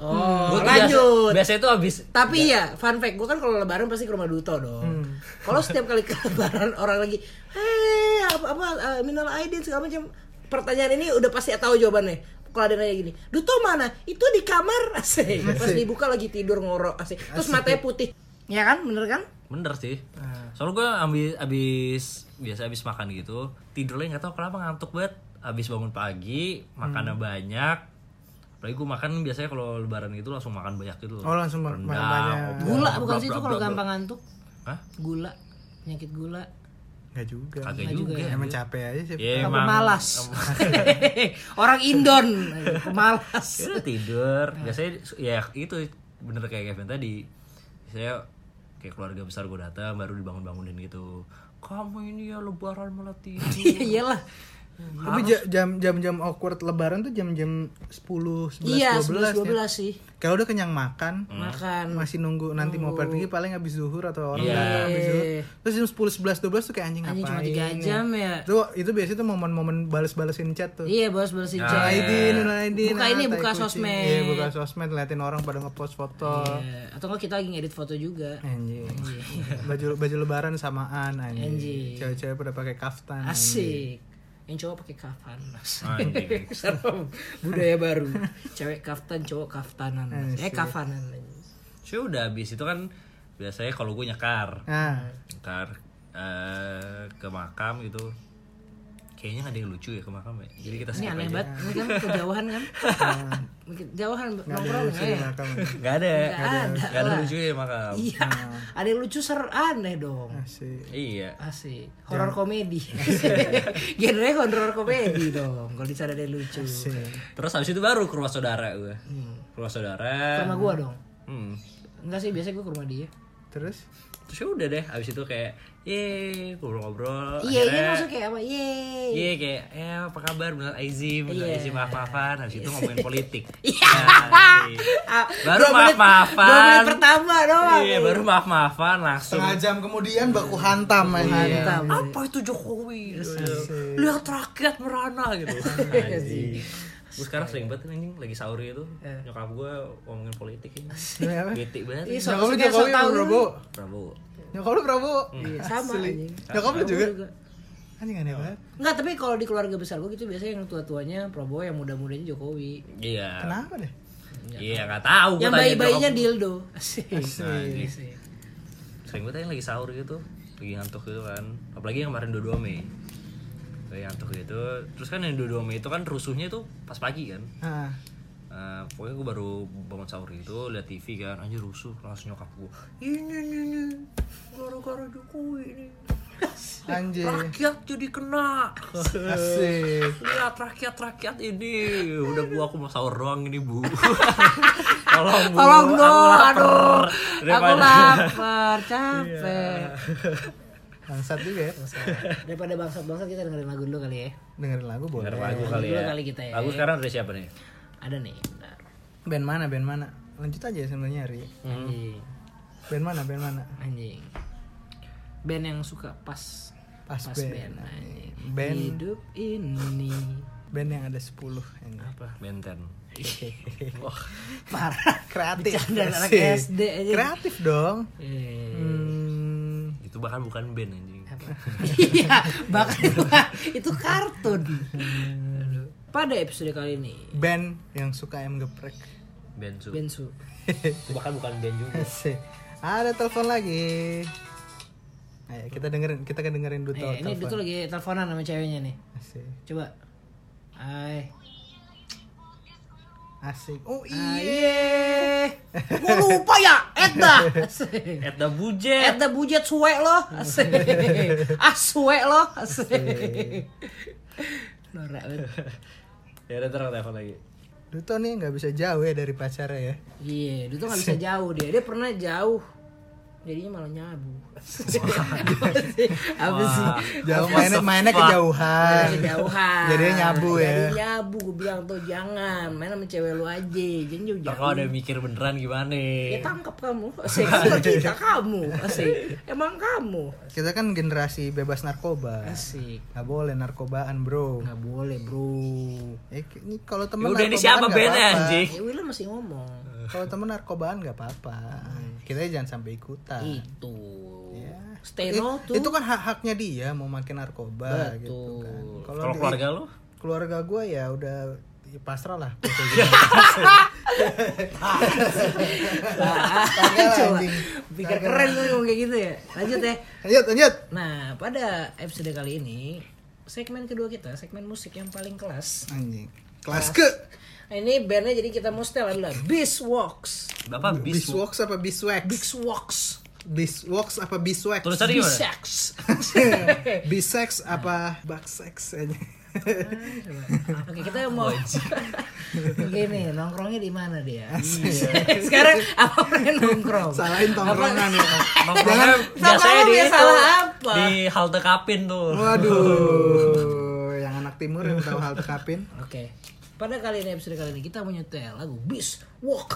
oh Gua tuh biasa- lanjut Biasanya tuh abis tapi ya fun fact gue kan kalau lebaran pasti ke rumah Duto dong kalau setiap kali ke lebaran orang lagi hei apa apa eh, minal aidin segala macam pertanyaan ini udah pasti tahu jawabannya kalau ada yang nanya gini Duto mana itu di kamar asik pas Asik. dibuka lagi tidur ngorok asik terus matanya putih ya kan bener kan bener sih. Nah. Soalnya gue abis abis biasa abis makan gitu tidurnya nggak tahu kenapa ngantuk banget. Abis bangun pagi makannya Hmm. banyak. Apalagi gue makan biasanya kalau lebaran itu langsung makan banyak gitu. Oh, langsung ma- makan banyak. opor, gula bla, bukan bla, sih itu bla, kalau bla, bla. gampang ngantuk Hah? gula penyakit gula Nggak juga. Kagak juga. Iya, Emang capek aja sih. Ya, Apa emang- malas orang Indon pemalas Biasanya ya tidur Nah. biasanya ya itu bener kayak Kevin tadi saya kayak keluarga besar gue datang baru dibangun bangunin gitu kamu ini ya lebaran malah tidur Iya, iyalah Tapi ja- jam jam jam awkward lebaran tuh jam-jam 10, 11, iya 11 12. ya. Hmm. 12 sih Kalau udah kenyang makan, makan masih nunggu nanti mau pergi paling habis zuhur atau orang Iya. udah habis zuhur. Terus jam 10 11 12 tuh kayak anjing Anjing ngapain. cuma 3 jam ya. Itu itu biasanya tuh momen-momen balas-balasin chat tuh. Iya, bos bersih Ya. jam. Aidin, Nuna Aidin, Buka ah, ini, tai buka kucing. sosmed. Iya, buka sosmed liatin orang pada ngepost foto. Iya. Atau enggak kita lagi ngedit foto juga. Anjing. Baju baju lebaran samaan anjing. Anjing. Cewek-cewek pada pakai kaftan. Asik. Yang cowok pakai kaftan. Ah. Anjing. Serem. Budaya baru. Cewek kaftan, cowok kaftanan. Ah, Eh, kafanan. Cuy udah habis itu kan biasanya kalau gue nyekar Nah, nyekar eh, ke makam itu kayaknya nggak ada yang lucu ya ke makam ya jadi kita Ini skip aneh aja. banget. Ini kan kejauhan kan? Kejauhan Ah. nggak ada nongkrong lucu di ya. makam. nggak ada Nggak ada nggak ada lah. lucu ya makam Iya. Ah. Ada yang lucu ser aneh dong. Asik. iya Asik. Horor komedi. Genre horor komedi dong. Kalau di sana ada yang lucu. Asik. terus habis itu baru ke rumah saudara gue ke rumah Hmm. saudara Sama gua dong. Hmm. Enggak sih, biasanya gue ke rumah dia. Terus terus ya udah deh abis itu kayak ye ngobrol-ngobrol Iya, ini Akhirnya, maksudnya kayak apa? Yeay. Iya kayak, eh apa kabar? Benar Aizim, benar Iya. Aizim maaf-maafan. Habis itu ngomongin politik. Iya. Asik. Ah, Baru dua menit- maaf-maafan. Dua menit pertama doang. Iya, baru maaf-maafan langsung. setengah jam kemudian baku hantam anjing. Mantap. Apa itu Jokowi? Lihat rakyat merana gitu. Anjing. Iya. Gue sekarang sering banget anjing lagi sahur itu nyokap gue ngomongin politik ini. Kenapa? Bete banget. Iya, so- Nyokap lu suka- so Jokowi apa tau dulu. Prabowo? Prabowo. Hmm. Nyokap lu Prabowo? Iya, Sama anjing. Nyokap lu juga? Juga. Iya. Anjing aneh banget. Enggak, tapi kalau di keluarga besar gue gitu biasanya yang tua-tuanya Prabowo, yang muda-mudanya Jokowi. Iya. Kenapa deh? Iya nggak tahu. gua Yang tanya bayi-bayinya nyokap. dildo. Asik. Anjing. Asik. Sering gue tanya lagi sahur gitu, lagi ngantuk gitu kan. Apalagi yang kemarin 22 Mei. Lagi ngantuk gitu. Terus kan yang 22 Mei itu kan rusuhnya itu pas pagi kan. Ah, Eh, pokoknya gue baru bangun sahur gitu lihat TV kan anjir rusuh langsung nyokap gue ini ini ini gara-gara Jokowi ini Iya, anjir. rakyat jadi kena Asik. lihat rakyat rakyat ini udah gua aku mau sahur doang ini bu tolong bu Tolong aku dong, lapar. aduh. Aku Daripada- lapar, capek. Bangsat juga ya. Iya. masalah. Daripada bangsat-bangsat kita dengerin lagu dulu kali ya. Dengerin lagu boleh. Dengar lagu kali Dua ya kali kita ya. lagu sekarang dari siapa nih Ada nih. bentar. Band mana? Band mana? Lanjut aja sebenarnya Ri. Hmm. Anjing. Band mana? Band mana? Anjing. Band yang suka pas Pas, pas band. band. anjing. Band. Hidup ini Band yang ada 10 ini. apa Benten wah Parah, kreatif. Bercanda anak Asik. SD aja. Kreatif dong. Eh, Hmm, itu bahkan bukan band anjing Iya, bahkan itu kartun. Aduh. Pada episode kali ini, band yang suka ayam geprek. band su Bensu. itu bahkan bukan band juga Asik. Ada telepon lagi. Ayo kita dengerin, kita kan dengerin duto Eh, ini Dutu telepon. lagi teleponan sama ceweknya nih. Asik. Coba. Hai. Asik. Oh iya. Aye. Gua lupa ya, Edda. Edda Bujet Edda bujet suwe lo. Asik. Ah suwe lo. Asik. Norak banget. ya udah ntar aku telepon lagi Duto nih nggak bisa jauh ya dari pacarnya ya. Iya, dia tuh gak bisa jauh dia. Dia pernah jauh. Jadinya malah nyabu. Apa sih? Jauh mainnya mainnya kejauhan. Jauhan. Jadinya nyabu ya. Jadi nyabu, gue bilang tuh jangan main sama cewek lu aja, jangan ntar kalau ada jauh-jauh. yang mikir beneran gimana Ya tangkap kamu, asik kita, kita kamu, asik emang kamu, Kita kan generasi bebas narkoba. asik Nggak boleh narkobaan bro. nggak boleh bro. Eh, ini kalau ya temen udah ini narkobaan siapa nggak band apa-apa. anjing Ya Willa masih ngomong Kalau temen narkobaan nggak apa-apa. Hmm. Kita jangan sampai ikutan. itu, Iya. stay Eh, no tuh itu kan hak haknya dia mau makin narkoba gitu kan. Kalau kalau di- keluarga lu keluarga gue ya udah ya pasrah lah. gitu. Ah, Kagak lah, Coba anjing. pikir keren tuh ngomong kayak gitu ya. Lanjut ya. lanjut lanjut. Nah, pada episode kali ini segmen kedua kita, segmen musik yang paling kelas. Anjing. Kelas ke Nah, ini bandnya jadi kita mau setel adalah Biswax. bapak bis Biswax apa Biswax? Biswax. Biswax apa Biswax? tulisannya gimana Bisex. Bisex apa baksex aja. Oke, kita Oh, mau Gini, nongkrongnya di mana dia? Iya. Sekarang apa pengen nongkrong? Salahin tongkrongan ya. Nongkrongnya biasanya Nongkrongnya di biasa itu apa? di halte kapin tuh. Waduh, yang anak timur yang tahu hal tekapin. Oke. Pada kali ini episode kali ini kita mau nyetel lagu Biswax.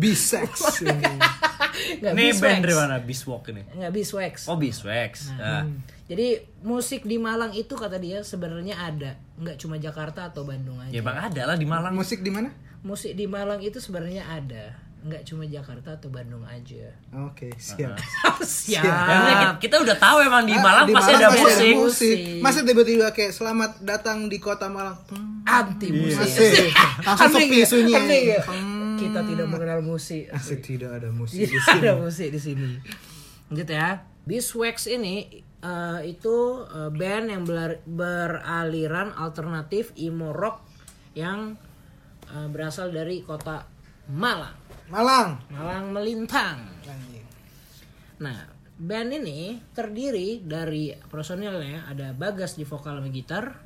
Bisex. Nggak, Ini Biswax. band dari mana? Biswalk ini. Nggak Biswax. Oh Biswax. Nah, Jadi musik di Malang itu kata dia sebenarnya ada, nggak cuma Jakarta atau Bandung aja. Ya bang ada lah di Malang. Musik di mana? Musik di Malang itu sebenarnya ada, nggak cuma Jakarta atau Bandung aja. Oke, siap. Ya, Siap. makanya kita, kita udah tahu emang di Ah, Malang di pasti Malang ada pasti musik. musik. Musik. Masa tiba-tiba kayak selamat datang di kota Malang. Hmm. Anti Iya, musik. Asik. Iya. Langsung Aneh sepi ya? nggak? isunya. Aneh nggak? Kita tidak mengenal musik. Asik tidak ada musik. Tidak ada musik di sini. Lanjut ya. Biswax ini eh, itu eh, band yang belar- beraliran alternatif emo rock yang eh, berasal dari kota Malang, Malang. Malang Melintang. Nah, band ini terdiri dari personilnya ada Bagas di vokal sama gitar,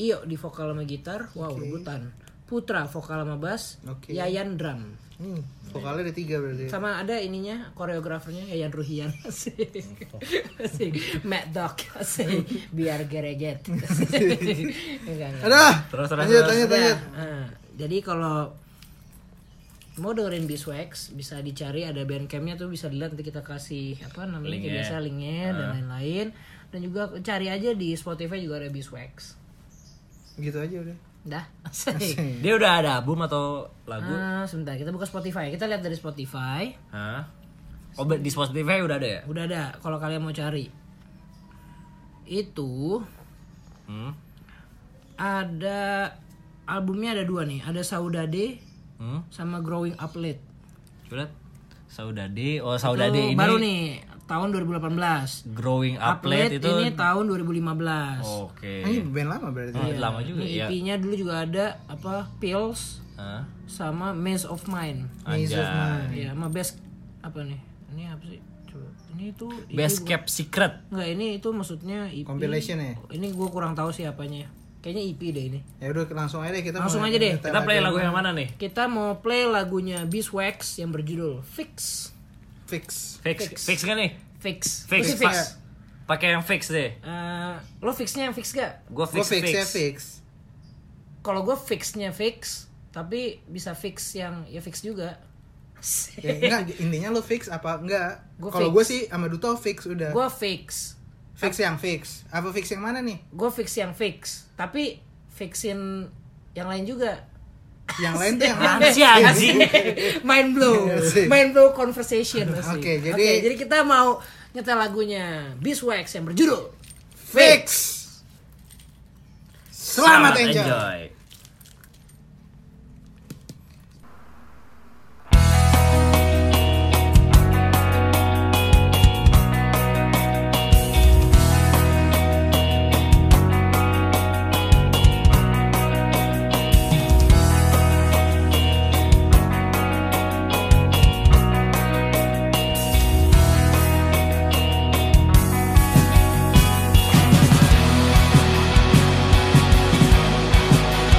Iyo di vokal sama gitar, wow rebutan. Putra vokal sama bass, Oke. Yayan drum. Hmm, vokalnya ada tiga berarti. Sama ada ininya koreografernya Yayan Ruhian. Asik. Asik. Mad Dog. Asik. Biar gereget. Asik. Enggak, enggak. Ada. Terus, terus, lanjut, terus. Iya. lanjut, lanjut. Nah, jadi kalau mau dengerin Biswax bisa dicari ada bandcampnya tuh bisa dilihat nanti kita kasih apa namanya kayak Linknya. Ah. biasa linknya dan lain-lain dan juga cari aja di Spotify juga ada Biswax Gitu aja udah. dah asik. Dia udah ada album atau lagu? Ah, sebentar kita buka Spotify kita lihat dari Spotify Hah? Oh, di Spotify udah ada ya? udah ada kalau kalian mau cari itu Hmm? ada albumnya ada dua nih, ada Saudade Hmm? sama Growing Up Late. Coba lihat. Saudade. Oh, Saudade Itu ini baru nih tahun 2018. growing up late Uplet itu. Oh, ini tahun 2015. Oke. Ini band lama berarti. Hmm, lama juga Ini ya. EP-nya dulu juga ada apa Pills Hah? sama Maze of Mine. Anjay. Ya, sama Best apa nih? Ini apa sih? Coba. Ini E tuh ini bukan- Best kept secret. Enggak, ini itu maksudnya EP. Compilation ya. Ini gua kurang tahu sih apanya. Kayaknya EP deh ini. Ya udah langsung aja deh kita. Langsung mulai. aja deh. Kita play lagu yang mana nih? Kita mau play lagunya Beeswax yang berjudul Fix. Fix. Fix. Fix kan nih? Fix. ya. Apa Fix. sih Pas. Pakai yang fix deh. Eh, lo fixnya yang fix gak? Gua Gue fix fix, fix. ya fix. Kalau gue fixnya fix, tapi bisa fix yang ya fix juga. Ya, enggak intinya lu fix apa enggak? Gua Kalau fix. gue sih sama Duto fix udah. Gue fix. Fix yang fix. Apa fix yang mana nih? Gue fix yang fix, tapi fixin yang lain juga. Iya Yang lain tuh yang mana? Apaan sih, anjing? Mind blow, Asik. mind blow conversation. asik. Iya Oke, jadi- Oke, jadi kita mau nyetel lagunya Beeswax yang berjudul Fix. Selamat, Selamat enjoy. enjoy. Fix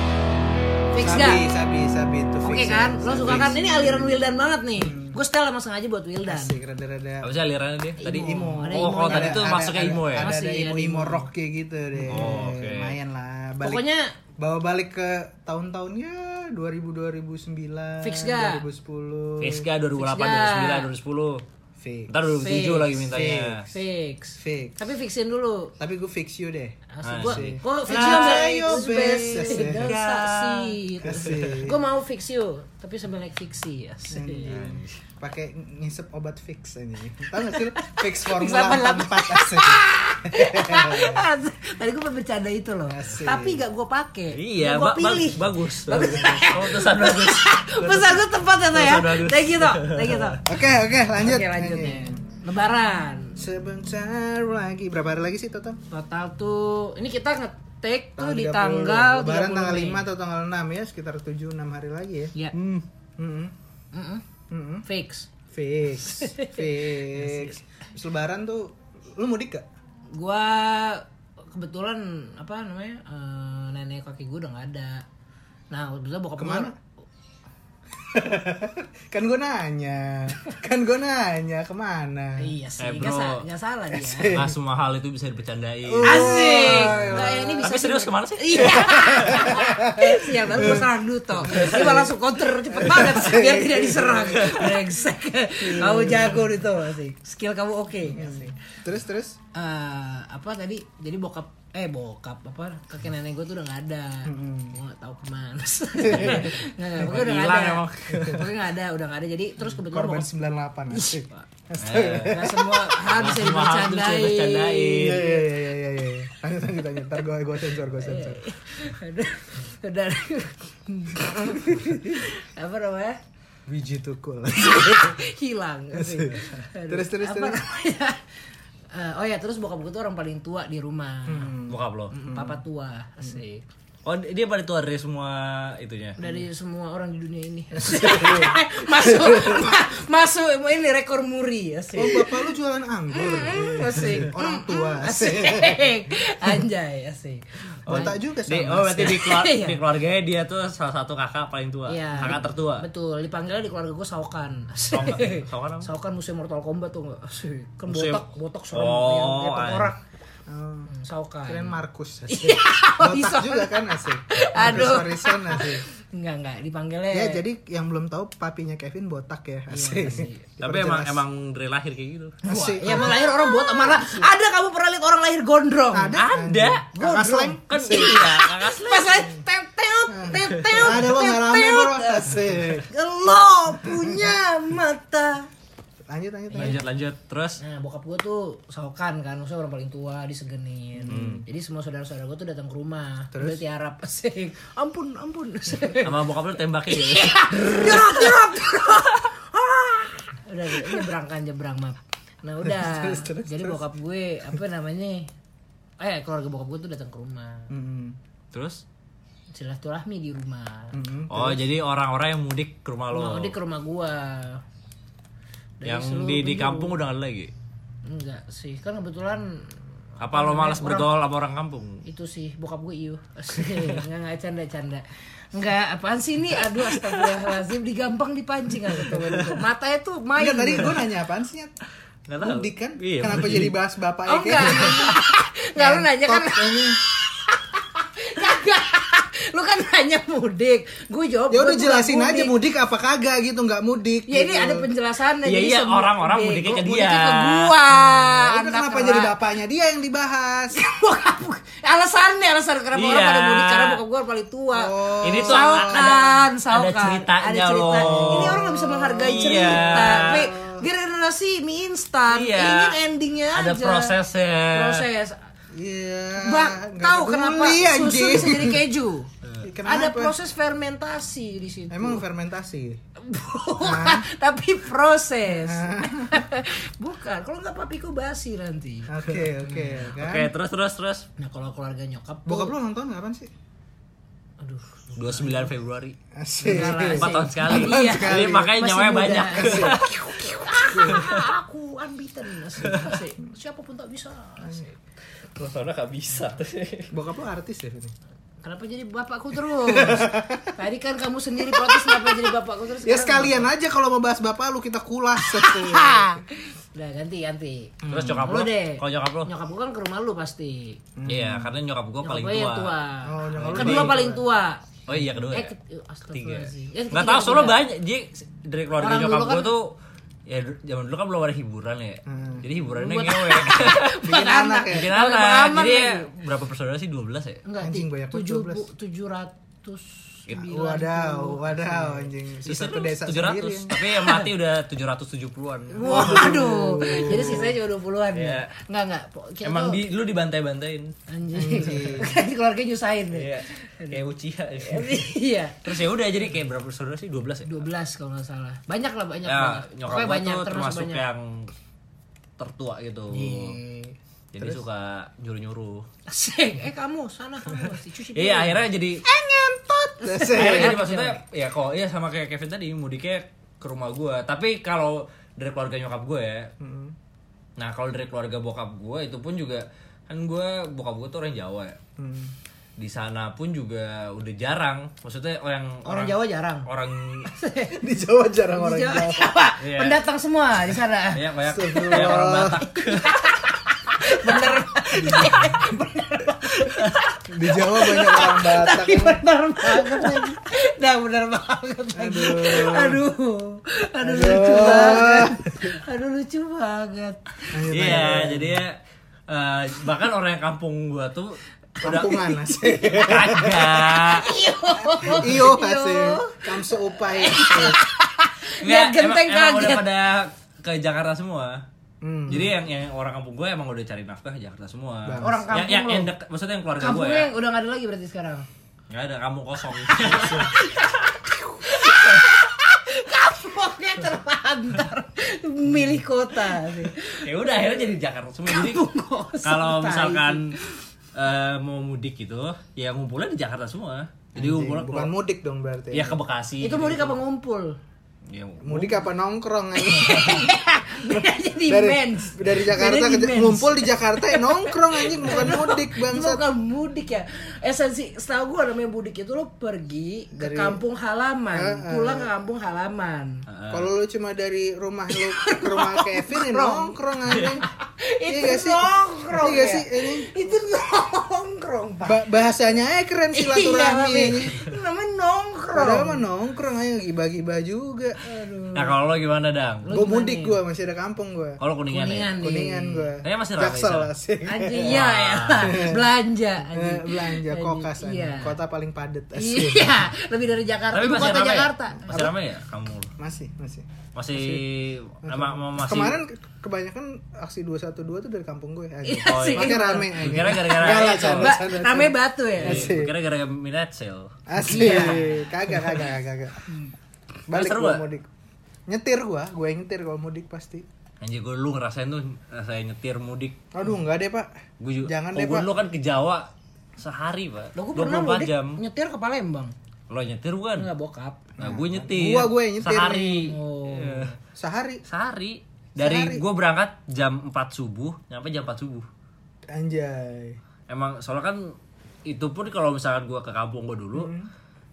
gak? Sabi, sabi, sabi itu fix. Oke ya. kan? Lo suka Sabi. kan? Ini aliran Wildan banget nih. Gue setel emang sengaja buat Wildan. Asik, rada-rada. Apa sih alirannya dia? Tadi Imo. Ada Oh, Imo, kalau ada- tadi tuh Ada- masuknya ada- imo ya. Ada, ada Masih, ada imo-imo rock kayak gitu deh. Oh, oke. Lumayan lah. Balik, Pokoknya bawa balik ke ya, tahun-tahunnya 2000 2009, Fix gak? 2010. Fix gak 2008, Fixga. 2009, 2010. Fix. Ntar 2007 lagi mintanya. fix. Fix. Tapi fixin dulu. Tapi gue fix you deh. Asik gue, Asik. gue fix you ambil Ayo, It's best best. dansa sih. Asik. Gue mau fix you, tapi sambil naik fiksi ya. Asik. Pakai ngisep obat fix ini. Tahu gak sih lu? Fix formula Fix 4 asik. Tadi gue bercanda itu loh, Asik. tapi gak gue pakai. Iya, gue ba- ba- pilih. bagus. Bagus. Oh, terusan bagus. Pesan gue tepat ya Toh, ya. Pesan bagus. Thank you toh, thank you toh. Oke, oke, lanjut. Oke lanjut ya. nih. Lebaran Sebentar lagi. Berapa hari lagi sih total? total tuh, ini kita ngetek tuh di 30. tanggal Lebaran 30 tanggal Mei. 5 atau tanggal 6 ya, sekitar 7 6 hari lagi ya. Iya, Hmm. Mm-mm. mm-mm. Mm-mm. fix. Fix. Iya, Fix. Terus Lebaran tuh lu mudik gak? Gua kebetulan apa namanya eh, nenek kaki gue udah nggak ada. Nah, kebetulan bokap Kemana? gua- kan gue nanya. Kan gue nanya kemana? Iya sih, Eh, nggak bro. sa- nggak salah dia. Nah, semua hal itu bisa dipercandain. Asik. Nah, Uh. ini bisa Tapi serius kemana sih? Iya. Siap banget gue serang Duto. Ini malah langsung counter cepet banget biar tidak diserang. Brengsek. Kamu jago Duto asik. Skill kamu oke. Asik. Terus terus Eh, apa tadi? Jadi bokap eh bokap apa kakek nenek gue tuh udah nggak ada. Gue nggak tahu kemana. Nggak, nggak, pokoknya udah nggak Hilang ada. emang. Pokoknya nggak ada, udah nggak ada. Jadi terus kebetulan korban bokap 98 asik. Nah, semua hal bisa Semua hal itu bisa dibercandain. dipercandain. Iya iya iya iya iya. iya. Lanjut lanjut lanjut. Ntar gue gue sensor gue sensor. Udah, udah. apa namanya Wiji tukul. hilang Aduh. Terus, terus, apa terus. namanya Eh, oh ya terus bokap gue tuh orang paling tua di rumah Bokap lo. papa tua asik Oh, dia pada tua dari semua itunya. Iya. dari semua orang di dunia ini asik. masuk ma- masuk ini rekor muri Oh asik Hmm, bapak lu jualan anggur. asik hmm, Orang tua asik. asik anjay asik Botak juga Di, sama. oh berarti di, keluar, Iya. di keluarganya dia tuh salah satu kakak paling tua, Iya. kakak tertua. Betul, dipanggilnya di keluarga gue Saukan. Saukan- Saukan apa? Saukan musim Mortal Kombat tuh enggak? Kan Musim- botak, botak serem Oh, yang kayak tengkorak. Oh. Hmm, Saukan. iya. Keren Markus asik. Iya, Botak Horizon. juga kan asik. Aduh. Iya, Markus Horizon asik. Enggak, enggak, dipanggilnya. Ya jadi yang belum tahu papinya Kevin botak ya Iya, asik. Tapi emang emang dari lahir kayak gitu. Wah, asik. ya emang lahir orang botak marah. Ada kamu pernah lihat orang lahir gondrong? Ada. Kakak Gondrong. slang. Kan iya, kakak slang. Pas lahir teot teot teot teot. Ada lo nggak rame teot, bro teot. asik. Lo punya mata. Lanjut lanjut lanjut. Lanjut lanjut terus. Nah, bokap gue tuh saukan kan, maksudnya orang paling tua, disegenin. Hmm. Jadi semua saudara-saudara gue tuh datang ke rumah, terus tiarap asik. Ampun, ampun. Asik. Sama bokap lu tembakin ya. Tiarap, tiarap, tiarap. Ah. udah nyebrang kan nyebrang map. Nah, udah. Jadi bokap gue apa namanya? Eh, keluarga bokap gue tuh datang ke rumah. Mm-mm. Terus? Silaturahmi di rumah. Mm-mm. Oh, jadi orang-orang yang mudik ke rumah Oh. Rumah lo. dia ke rumah gua. Dari Yang seluruh di di penjuru. kampung udah nggak ada lagi. Enggak sih, kan kebetulan Apa lo malas bergaul sama orang kampung? itu sih bokap gue iya. iu nggak nggak canda canda nggak apaan sih ini aduh astagfirullahaladzim digampang dipancing aku tuh waduh. matanya tuh main Enggak tadi gue nanya apaan sih? Nyet? Nggak tahu. Mudik kan? Iya, Kenapa mudik. jadi bahas bapak ya, oh enggak enggak lu nanya kan ini. kagak lu kan nanya mudik gue jawab Ya udah gue bukan jelasin aja mudik apa kagak gitu nggak mudik. ya ini gitu. ada penjelasannya Iya, jadi iya, semua orang-orang mudiknya ke dia. mudiknya ke gua Ya udah, Ah, anak kenapa kerak. jadi bapaknya dia yang dibahas? bokap gue alasannya alasan kenapa orang Iya. pada mudik karena bokap gue paling tua Oh. Ini tuh Saukan, ada- saukan. ada ceritanya cerita. loh. Ini orang gak bisa menghargai Iya. cerita. Wait, biar generasi mie instan, Iya. ingin endingnya Ada aja. prosesnya. Proses. Iya. Bang, nggak tahu peduli, kenapa susu anjing. bisa jadi keju? Kenapa? Ada proses fermentasi di situ. Emang fermentasi. Bukan, Ah. tapi proses. Bukan, kalau nggak papiku basi nanti. Oke oke. kan? Oke, terus terus terus. Nah, kalau keluarga nyokap tuh- Bokap lu nonton kapan sih? aduh, 29 Februari. Asik. Enggak lah, Empat Iya sih. tahun sekali. Iya. Jadi makanya Masih nyawanya muda. Iya. banyak. Ah, aku unbeaten asik, asik. siapapun tak bisa asik. Terus orang gak bisa. Bokap lu artis ya ini. Kenapa jadi bapakku terus? Tadi kan kamu sendiri protes kenapa jadi bapakku terus? Ya sekarang- sekalian aja kalau mau bahas bapak lu kita kulas. Ah. Udah ganti ganti. Terus nyokap Lu lo? deh. Kalau nyokap lo? Nyokap gua kan ke rumah lu pasti. Iya, karena nyokap gue Nyokap paling gua yang tua. tua. Oh, nyokap lu Kedua paling paling tua. Oh iya kedua. Eh, ya? ke- Tiga. astagfirullahaladzim. Eh, Nggak ketiga, tahu soalnya ketiga. banyak. Jadi dari keluarga Orang nyokap dulu gue kan- Hmm. tuh ya du- zaman dulu kan belum ada hiburan ya. Jadi hiburannya ngewe. Bukan anak. Bikin Kalau anak. aman Jadi ya, lagi. berapa bersaudara sih? 12 ya? Enggak, Anjing, banyak banget, tujuh 12. tujuh ratus Iya. Wadaw, wadaw anjing. Susah tuh desa sendiri. 700. Tapi yang mati udah 770-an. Waduh, jadi sisanya cuma dua puluhan ya? Iya. Enggak enggak. po- Kita Emang tuh- di lu dibantai-bantain. anjing. Kan keluarga nyusahin deh. Iya. Kayak Uchiha. ya. Iya. Terus ya udah jadi kayak berapa bersaudara sih? 12 ya? 12 kalau nggak salah. Banyak lah banyak. Ya, banyak. nyokap Pokoknya gue banyak tuh terus termasuk ya. banyak. Iya. yang tertua gitu. Jadi suka nyuruh-nyuruh. Asik. Eh kamu sana kamu si cuci piring. Iya akhirnya jadi akhirnya jadi maksudnya Iya. ya kok ya sama kayak Kevin tadi mudiknya ke rumah gue tapi kalau dari keluarga nyokap gue ya Hmm. nah kalau dari keluarga bokap gue itu pun juga kan gue bokap gue tuh orang Jawa ya Hmm. di sana pun juga udah jarang maksudnya orang Orang Jawa jarang. orang Di Jawa jarang Di orang. Jawa, Jawa. Iya. Pendatang semua di sana. ya kayak kayak orang Batak Di Jawa banyak orang Batak. Tapi benar banget lagi. Nah, benar banget lagi. Aduh. Aduh. lucu banget. Aduh lucu banget. iya jadi ya eh, bahkan orang yang kampung gue tuh udah Kampungan asik. kagak Iyo asik. Kamso upai. asik. Biar Nggak, genteng emang, emang udah kaget. pada ke Jakarta semua. Jadi yang yang orang kampung gue emang udah cari nafkah ke Jakarta semua. Orang kampung yang, yang, lo. yang dek- maksudnya yang keluarga gue Kampungnya ya. yang udah nggak ada lagi berarti sekarang. Enggak ada kampung kosong. Kampungnya terlantar milih kota. sih. ya udah akhirnya jadi Jakarta semua. Jadi Kampung kosong, kalau tai. misalkan eh, mau mudik gitu, ya ngumpulnya di Jakarta semua. Jadi ngumpulnya Bukan keluar- mudik dong berarti. ya ke Bekasi. Itu gitu. mudik apa ngumpul? Ya, ngumpul. Mudik apa nongkrong aja? Beda jadi dari mens. dari Jakarta Beda ke di mens. ngumpul di Jakarta ya nongkrong anjing bukan mudik Itu bangsat. bukan mudik ya esensi setahu gue namanya mudik itu lo pergi ke Dari- kampung halaman Ah, ah. pulang ke kampung halaman Kalau lu cuma dari rumah lu ke rumah Kevin ya nongkrong anjing. Iya itu nggak sih? nongkrong Iya nggak ya? sih ini? itu nongkrong pak Ba- bahasanya eh keren silaturahmi Iya, ini. tapi namanya Padahal nongkrong mah nongkrong ayo bagi-bagi juga. Nah, kalau lo gimana, Dang? Gue mudik gue masih ada kampung gue. Kalau kuningan, kuningan ya. nih. Kuningan gue. Kayaknya masih ramai Jaksel sana. asik. anjing iya ya belanja anjing. Eh, Belanja Anjing, kokas iya. anjing. Kota paling padat asik. iya lebih dari Jakarta Tapi ibu masih kota ramai. ya? Jakarta Masih ramai ya kamu? Masih, masih. Masih emang emang masih Kemarin ke- kebanyakan aksi 212 tuh dari kampung gue. anjing. Oh, iya. Makanya rame anjing. Kira gara-gara Enggak lah, itu. canda, Mbak, canda, ramai canda. batu ya Asik. Kira gara-gara minat sale. Asik. Iya. Kagak, kagak, kagak, kagak. Hmm. Balik seru gua gak? mudik. Nyetir gua, gue yang nyetir kalau mudik pasti. Anjir gue lu ngerasain tuh ngerasain nyetir mudik. Aduh, enggak deh, Pak. Gue juga. Jangan oh, deh, gua Pak. dulu kan ke Jawa sehari, Pak. lo gue pernah 24 mudik jam. nyetir ke Palembang Lo nyetir bukan? enggak bokap Nah, gue nyetir. Gua- gua yang nyetir Sehari. Oh. Iya. Sehari Sehari. Dari Sehari. gue berangkat jam 4 subuh, nyampe jam 4 subuh. anjay. Emang soalnya kan itu pun kalau misalkan gue ke kampung gue dulu, Hmm.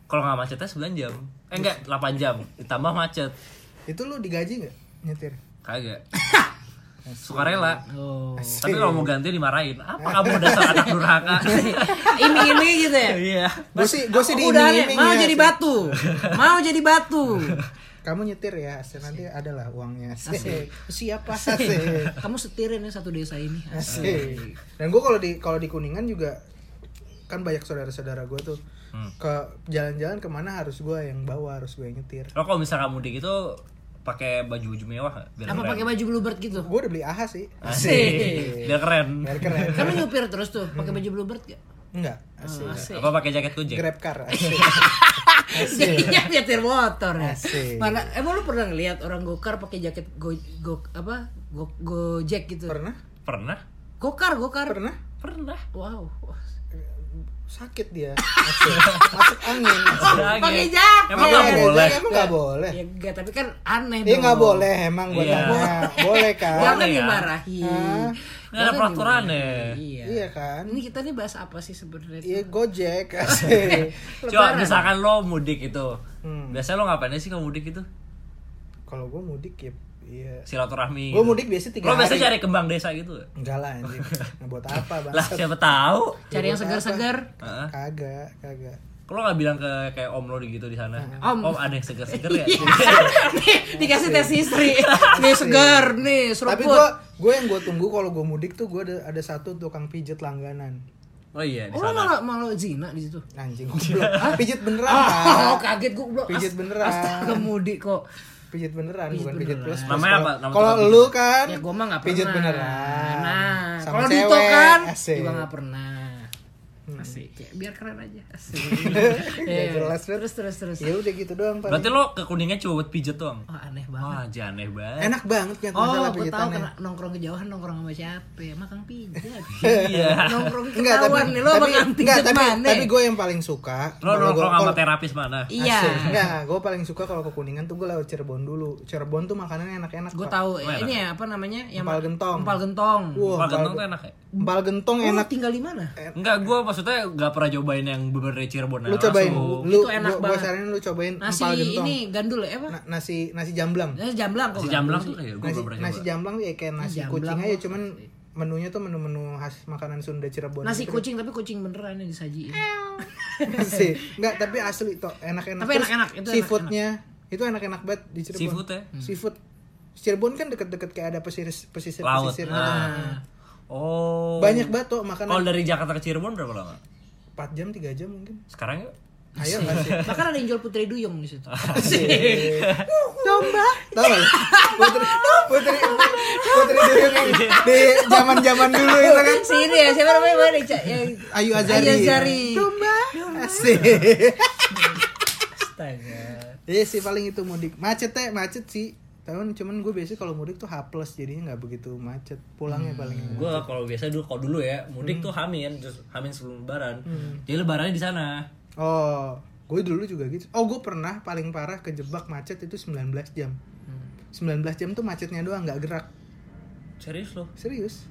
kalau nggak macetnya 9 jam. Eh enggak, 8 jam. Ditambah macet. Itu lu digaji nggak nyetir? Kagak. Sukarela. oh Tapi kalau mau ganti dimarahin. Apa kamu dasar anak durhaka? iming-iming gitu ya Iya. Gue sih gue sih Aku udah aneh, diiming-iming mau ya, jadi asik. batu mau jadi batu Kamu nyetir ya, asik. nanti adalah uangnya. Asik. Siapa Asik. asik? kamu setirin ya satu desa ini Asik. Dan gue kalau di kalau di Kuningan juga kan banyak saudara-saudara gue tuh Hmm. ke jalan-jalan kemana harus gue yang bawa harus gue yang nyetir. Lo kalau misalkan mudik itu pakai baju-baju mewah nggak? biar apa keren. pakai baju bluebird gitu Gue udah beli AHA sih. Asik. Biar keren. Biar keren. kamu nyupir terus tuh pakai baju bluebird gak Enggak, Hmm, asik. asik Apa pakai jaket gojek? Grab car. Asik. Eh, iya. jadinya nyetir motor ya Asik. mana emang lu pernah ngeliat orang gokar pakai jaket go, go apa go, gojek gitu Pernah? Pernah? gokar gokar Pernah? Pernah. wow Sakit dia. Asik. Masuk angin. asik. Lagi. Ah, pakai jaket Emang nggak Iya, boleh. Emang nggak boleh. ya enggak tapi kan aneh Iya dong nggak boleh emang gue Iya. tanya. Boleh kan? jangan Boleh ya. dimarahi nggak ada peraturannya Iya. Iya kan? Ini kita nih bahas apa sih sebenarnya? Iya Gojek asik. coba misalkan lo mudik itu Hmm. biasanya lo ngapain sih kalau mudik itu Kalau gue mudik ya iya. silaturahmi Gue gitu. mudik biasa tiga lo biasanya hari. cari kembang desa gitu nggak? Enggak lah anjing. Ngebuat apa, Bang? lah siapa tahu Cari yang segar-segar. Heeh. Kagak, kagak. Lo nggak bilang ke kayak om lo gitu di sana. Om. Om ada yang seger-seger ya. Iya. nih, dikasih tes istri. Nih segar, nih Tapi seruput. gue gue yang gue tunggu kalau gue mudik tuh gue ada, ada satu tukang pijet langganan. Oh iya di Oh, lo malah sana. malah zina di situ. Anjing goblok. Pijet beneran. Ah, Pak. kaget gue blok. Pijit beneran. Astaga mudik kok. Pijit beneran bukan pijit plus. plus. Namanya apa? Kalau- Nama Kalau tukang lu kan Ya gue mah nggak pernah. pijit beneran. Nah, Sama kalau Dito cewek, kan, asik. Hmm. gue nggak pernah. Asik. Kayak biar keren aja. Asik. Nggak Iya. jelas, Bet. terus terus terus. Ya udah gitu doang Pak. Berarti lo ke kuningnya cuma buat pijet doang. Oh aneh banget. Wah, aneh banget. Enak banget ya Oh, gue masalah tahu pijitannya. kena nongkrong kejauhan nongkrong sama siapa? ya? Emang Kang Pijat. Iya. nongkrong Enggak, tapi, ketahuan nih lo sama tapi, Kang enggak, Pijat tapi, mana? tapi gue yang paling suka Lo kalau gua- nongkrong sama kalau- terapis mana? Iya. Asik. Enggak, gue paling suka kalau ke Kuningan tuh gue lewat Cirebon dulu. Cirebon tuh makanannya enak-enak. Gue Pak. tahu Mana? ini ya apa namanya? Yang Empal gentong. Empal gentong. Wah, Wah, empal, gentong tuh enak ya? empal gentong Lo enak. tinggal di mana? Enggak, gue maksudnya gak pernah cobain yang beberapa Cirebon. ya, Lu cobain. Lu Itu enak gue banget. saranin lu cobain Nasi empal gentong. Nah. ini Iya, gandul ya apa? Na- nasi nasi jamblang. Nasi jamblang kok. Si nggak? jamblang tuh kayak gue Nasi, gak pernah nasi coba. jamblang ya kayak nasi Jamblang gua kucing aja nggak cuman menunya tuh menu-menu khas makanan Sunda Cirebon. Nasi gitu. kucing tapi kucing beneran yang disajiin. Sih. Enggak, tapi asli tuh enak-enak. Tapi Terus enak-enak, itu Seafoodnya itu enak-enak banget di Cirebon. Seafood ya? Seafood. Cirebon kan deket-deket kayak ada pesisir pesisir Laut. pesisir. Nah. Oh. Banyak banget tuh makanan. Kalau dari Jakarta ke Cirebon berapa lama? 4 jam 3 jam mungkin. Sekarang yuk. Iya. Ayo nggak sih? Bahkan ada yang jual putri duyung di situ. Domba. Tahu nggak lu? Putri Putri Putri Duyung yang di zaman-zaman dulu itu kan. si ini ya siapa namanya mana Ica? yang Ayu Azari. Ayu Azari. Domba. Asik. Astaga. Iya sih paling itu mudik. Macet teh, macet sih. Cuman cuman gue biasanya kalau mudik tuh H plus jadinya nggak begitu macet. Pulangnya paling. Gue kalau biasa dulu kalau dulu ya mudik tuh Hamin, just Hamin sebelum Lebaran. Jadi Lebarannya di sana. Oh, gue dulu juga gitu. Oh, gue pernah paling parah kejebak macet itu 19 jam. 19 jam tuh macetnya doang nggak gerak. Serius lo? Serius.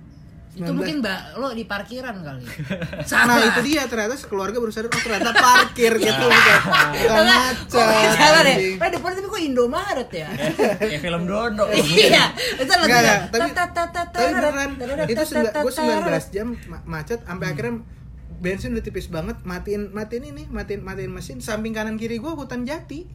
Itu 19. mungkin mbak lo di parkiran kali. Nah Salah. itu dia ternyata sekeluarga baru sadar oh ternyata parkir gitu bukan, bukan Kok macet. salah deh. anjing. Nah, depan tapi kok Indomaret ya? Kayak film Dono. Iya. Itu lagu Enggak, enggak, yang tapi, tatatatarat, tapi beneran itu sembilan- gue tatatatarat. 19 jam ma- macet Hmm. sampai akhirnya bensin udah tipis banget matiin matiin ini matiin matiin mesin samping kanan kiri gue hutan jati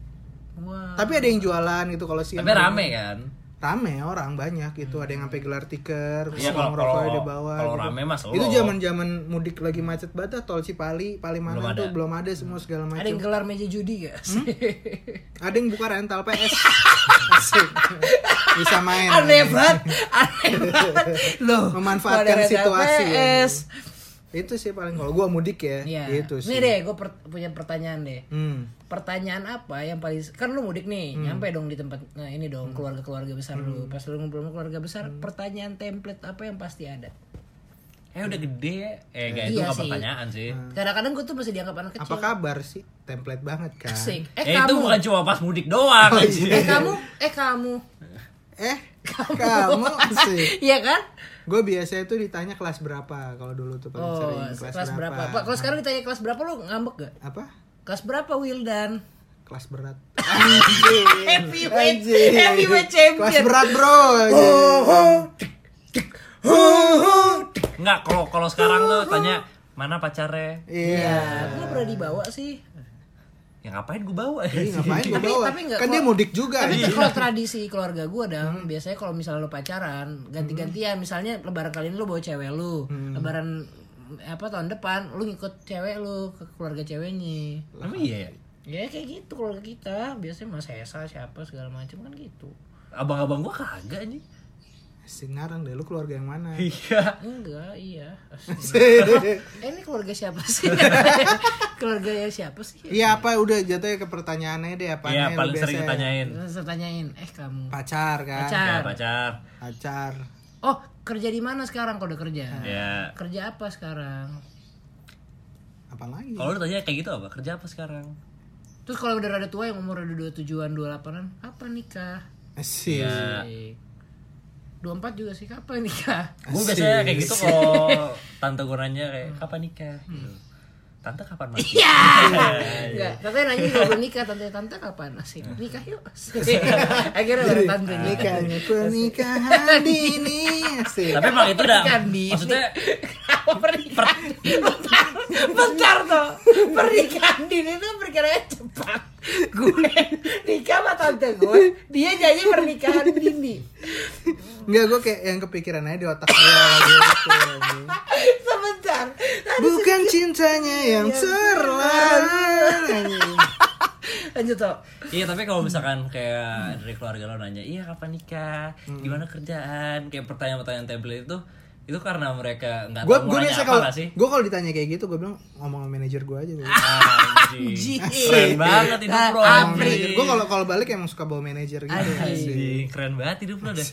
Wah. tapi ada yang jualan gitu kalau siang Tapi rame kan? rame orang banyak gitu ada yang sampai gelar tiker Iya, orang kalau- rokoknya kalau- di bawah kalau gitu. rame mah solo. itu zaman zaman mudik lagi macet banget dah, tol Cipali Palimanan Belum tuh ada. belum ada semua segala macam Ada yang gelar meja judi gak Hmm? sih? ada yang buka rental PS Asik. bisa main aneh banget, aneh banget. Loh, iya, Memanfaatkan ada situasi ya. TPS. itu sih paling kalau gua mudik ya Iya. gitu sih Nih deh, gue punya pertanyaan deh. Hmm. Pertanyaan apa yang paling kan lu mudik nih, nyampe dong di tempat nah ini dong keluarga-keluarga besar lu. Pas lu ngumpul sama keluarga besar, pertanyaan template apa yang pasti ada? Eh udah gede ya? Eh gak itu Iya gak sih. pertanyaan sih. Kadang-kadang gue tuh masih dianggap anak kecil. apa kabar sih template banget kan Asik. Eh, Eh, itu kamu. bukan cuma pas mudik doang anjir. Eh kamu, eh kamu. eh kamu sih Iya kan? gue biasanya tuh ditanya kelas berapa kalau dulu tuh paling Oh, sering kelas, berapa? Pak, kalau sekarang ditanya kelas berapa lu ngambek gak? apa Kelas berapa Wildan? kelas berat Anjing. Heavyweight, Anjing. heavyweight champion. kelas berat bro Oh, Anjing. Enggak, kalau kalau sekarang tuh tanya mana pacarnya? iya Aku nggak pernah dibawa sih. Ya ngapain gue bawa? Iya, Ih, ngapain gue Tapi- bawa tapi nggak- kan dia kalau- mudik juga Tapi anjing. kalau tradisi keluarga gue dong, biasanya kalau misalnya lo pacaran, ganti-gantian, misalnya lebaran kali ini lo bawa cewek lo, lebaran apa tahun depan lo ngikut cewek lo ke keluarga ceweknya. Emang iya ya? Ya kayak gitu keluarga kita, biasanya Mas Hesa siapa segala macam kan gitu. Abang-abang gue kagak anjing. Asik, ngarang deh lu keluarga yang mana Iya. Enggak, iya. Eh Sih. ini keluarga siapa sih? keluarga siapa sih? iya apa udah jatuhnya ke pertanyaannya deh apa ya Iya, paling sering ditanyain. Saya tanyain, eh kamu pacar kan Ya, pacar. pacar. pacar Oh kerja di mana sekarang? Kalau udah kerja? Ya. Kerja apa sekarang? apa lagi Kalau lu tanya kayak gitu apa? Kerja apa sekarang? Terus kalau udah rada Iya. tua yang umur udah dua tujuan dua delapanan, apa nikah? sih Ya. Eh, 24 juga sih kapan nikah? gue biasanya kayak gitu kalau tante gue nanya kayak kapan nikah gitu. tante kapan mati Iya. Enggak, tante nanya juga belum nikah, tante tante kapan asik nikah yuk. Asik. Akhirnya baru tante nikah. Nikahnya pernikahan dini Asik. tapi emang itu udah Pernikahan dini. maksudnya Kenapa pernikahan? Bentar, bentar tuh. Pernikahan dini itu perkiranya cepat. Gue nikah sama tante gue, dia jadi pernikahan dini. Enggak gue kayak yang kepikiran aja di otak gue lagi gitu. Sebentar. Bukan cintanya yang terlarang Lanjut tuh. iya tapi kalau misalkan kayak dari keluarga lo nanya iya kapan nikah gimana kerjaan kayak pertanyaan-pertanyaan template itu itu karena mereka nggak Gue tahu gue mau nanya biasa apa kalau nggak sih gue kalau ditanya kayak gitu gue bilang ngomong sama manajer gue aja gue. Anjing. Ah, keren banget hidup lo Apri. anjing. Gue kalau kalau balik emang suka bawa manajer gitu. Anjing, keren banget hidup lo deh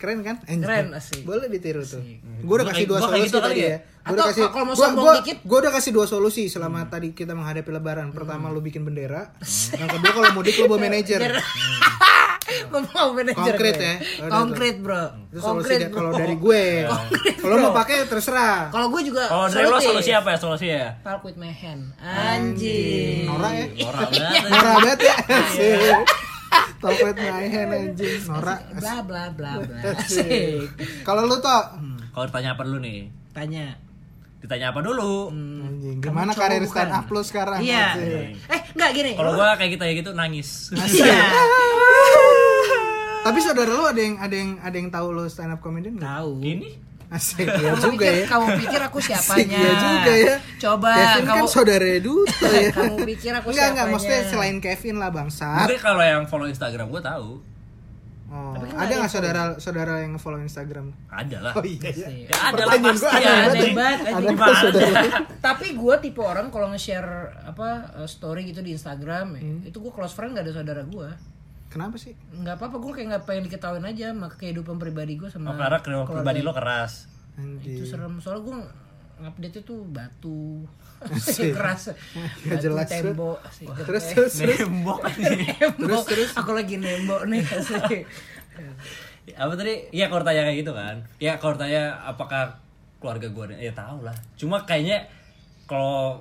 Keren kan? Anjing. Keren, asik. Boleh ditiru tuh. Gue udah Gua kasih kayak- dua gua kayak solusi gitu kali tadi ya? ya. Gue udah Atau kasih kalau mau gua- sombong gua- dikit? Hmm. gua udah kasih dua solusi selama tadi kita menghadapi lebaran. Pertama lu bikin bendera, yang kedua kalau mudik lu bawa manajer. Ngomong manajer Konkret gue. ya. Udah tuh. Konkret, Bro. Itu solusi Konkret. deh bro. kalau dari gue. Kalau mau pakai terserah. Kalau gue juga kalau dari lo solusi apa ya solusi ya Talk with my hand. Anjing. Norak ya. Iya. moral banget Norak banget ya. Asik. Topet my hand anjing. Norak. Bla bla bla bla. Asik. Asik. Kalau lu tuh Hmm. kalau ditanya apa dulu nih Tanya. ditanya apa dulu Hmm, Anjing, gimana karir stand up lu sekarang? Iya. Asik. Eh, enggak gini. kalau gua kayak kita ya gitu nangis Iya. Tapi saudara lu ada yang ada yang ada yang tahu lu stand up comedian enggak? Tahu. gini Asik ya Kamu juga pikir, ya. Kamu pikir aku siapanya? Iya juga ya. Coba Kevin kamu kan saudara Duto ya. Kamu pikir aku Enggak, enggak, siapanya? maksudnya selain Kevin lah bangsat. mungkin kalau yang follow instagram gua tahu Oh, kan ada nggak saudara saudara yang follow Instagram? ada lah Oh iya. iya. Ya ada lah Pertanyaan gua pasti ada. aneh Ada anjing. banget. Ada anjing. nggak saudara? Tapi gue tipe orang kalau nge-share apa eh, story gitu di Instagram, Hmm. ya, itu gue close friend gak ada saudara gue. Kenapa sih? Nggak apa-apa, gue kayak nggak pengen diketahuin aja sama kehidupan pribadi gue sama Oh, karena kehidupan pribadi lo keras. itu Anjing. serem soalnya gue update itu batu Asik. keras batu Nggak jelas, Bro. tembok asik. Terus terus terus. Nembok anjing. Tembok. aku lagi nembok nih asik. Apa tadi? Iya, kalau tanya kayak gitu kan. Ya, kalau tanya apakah keluarga gua ada? Ya tahu lah. Cuma kayaknya kalau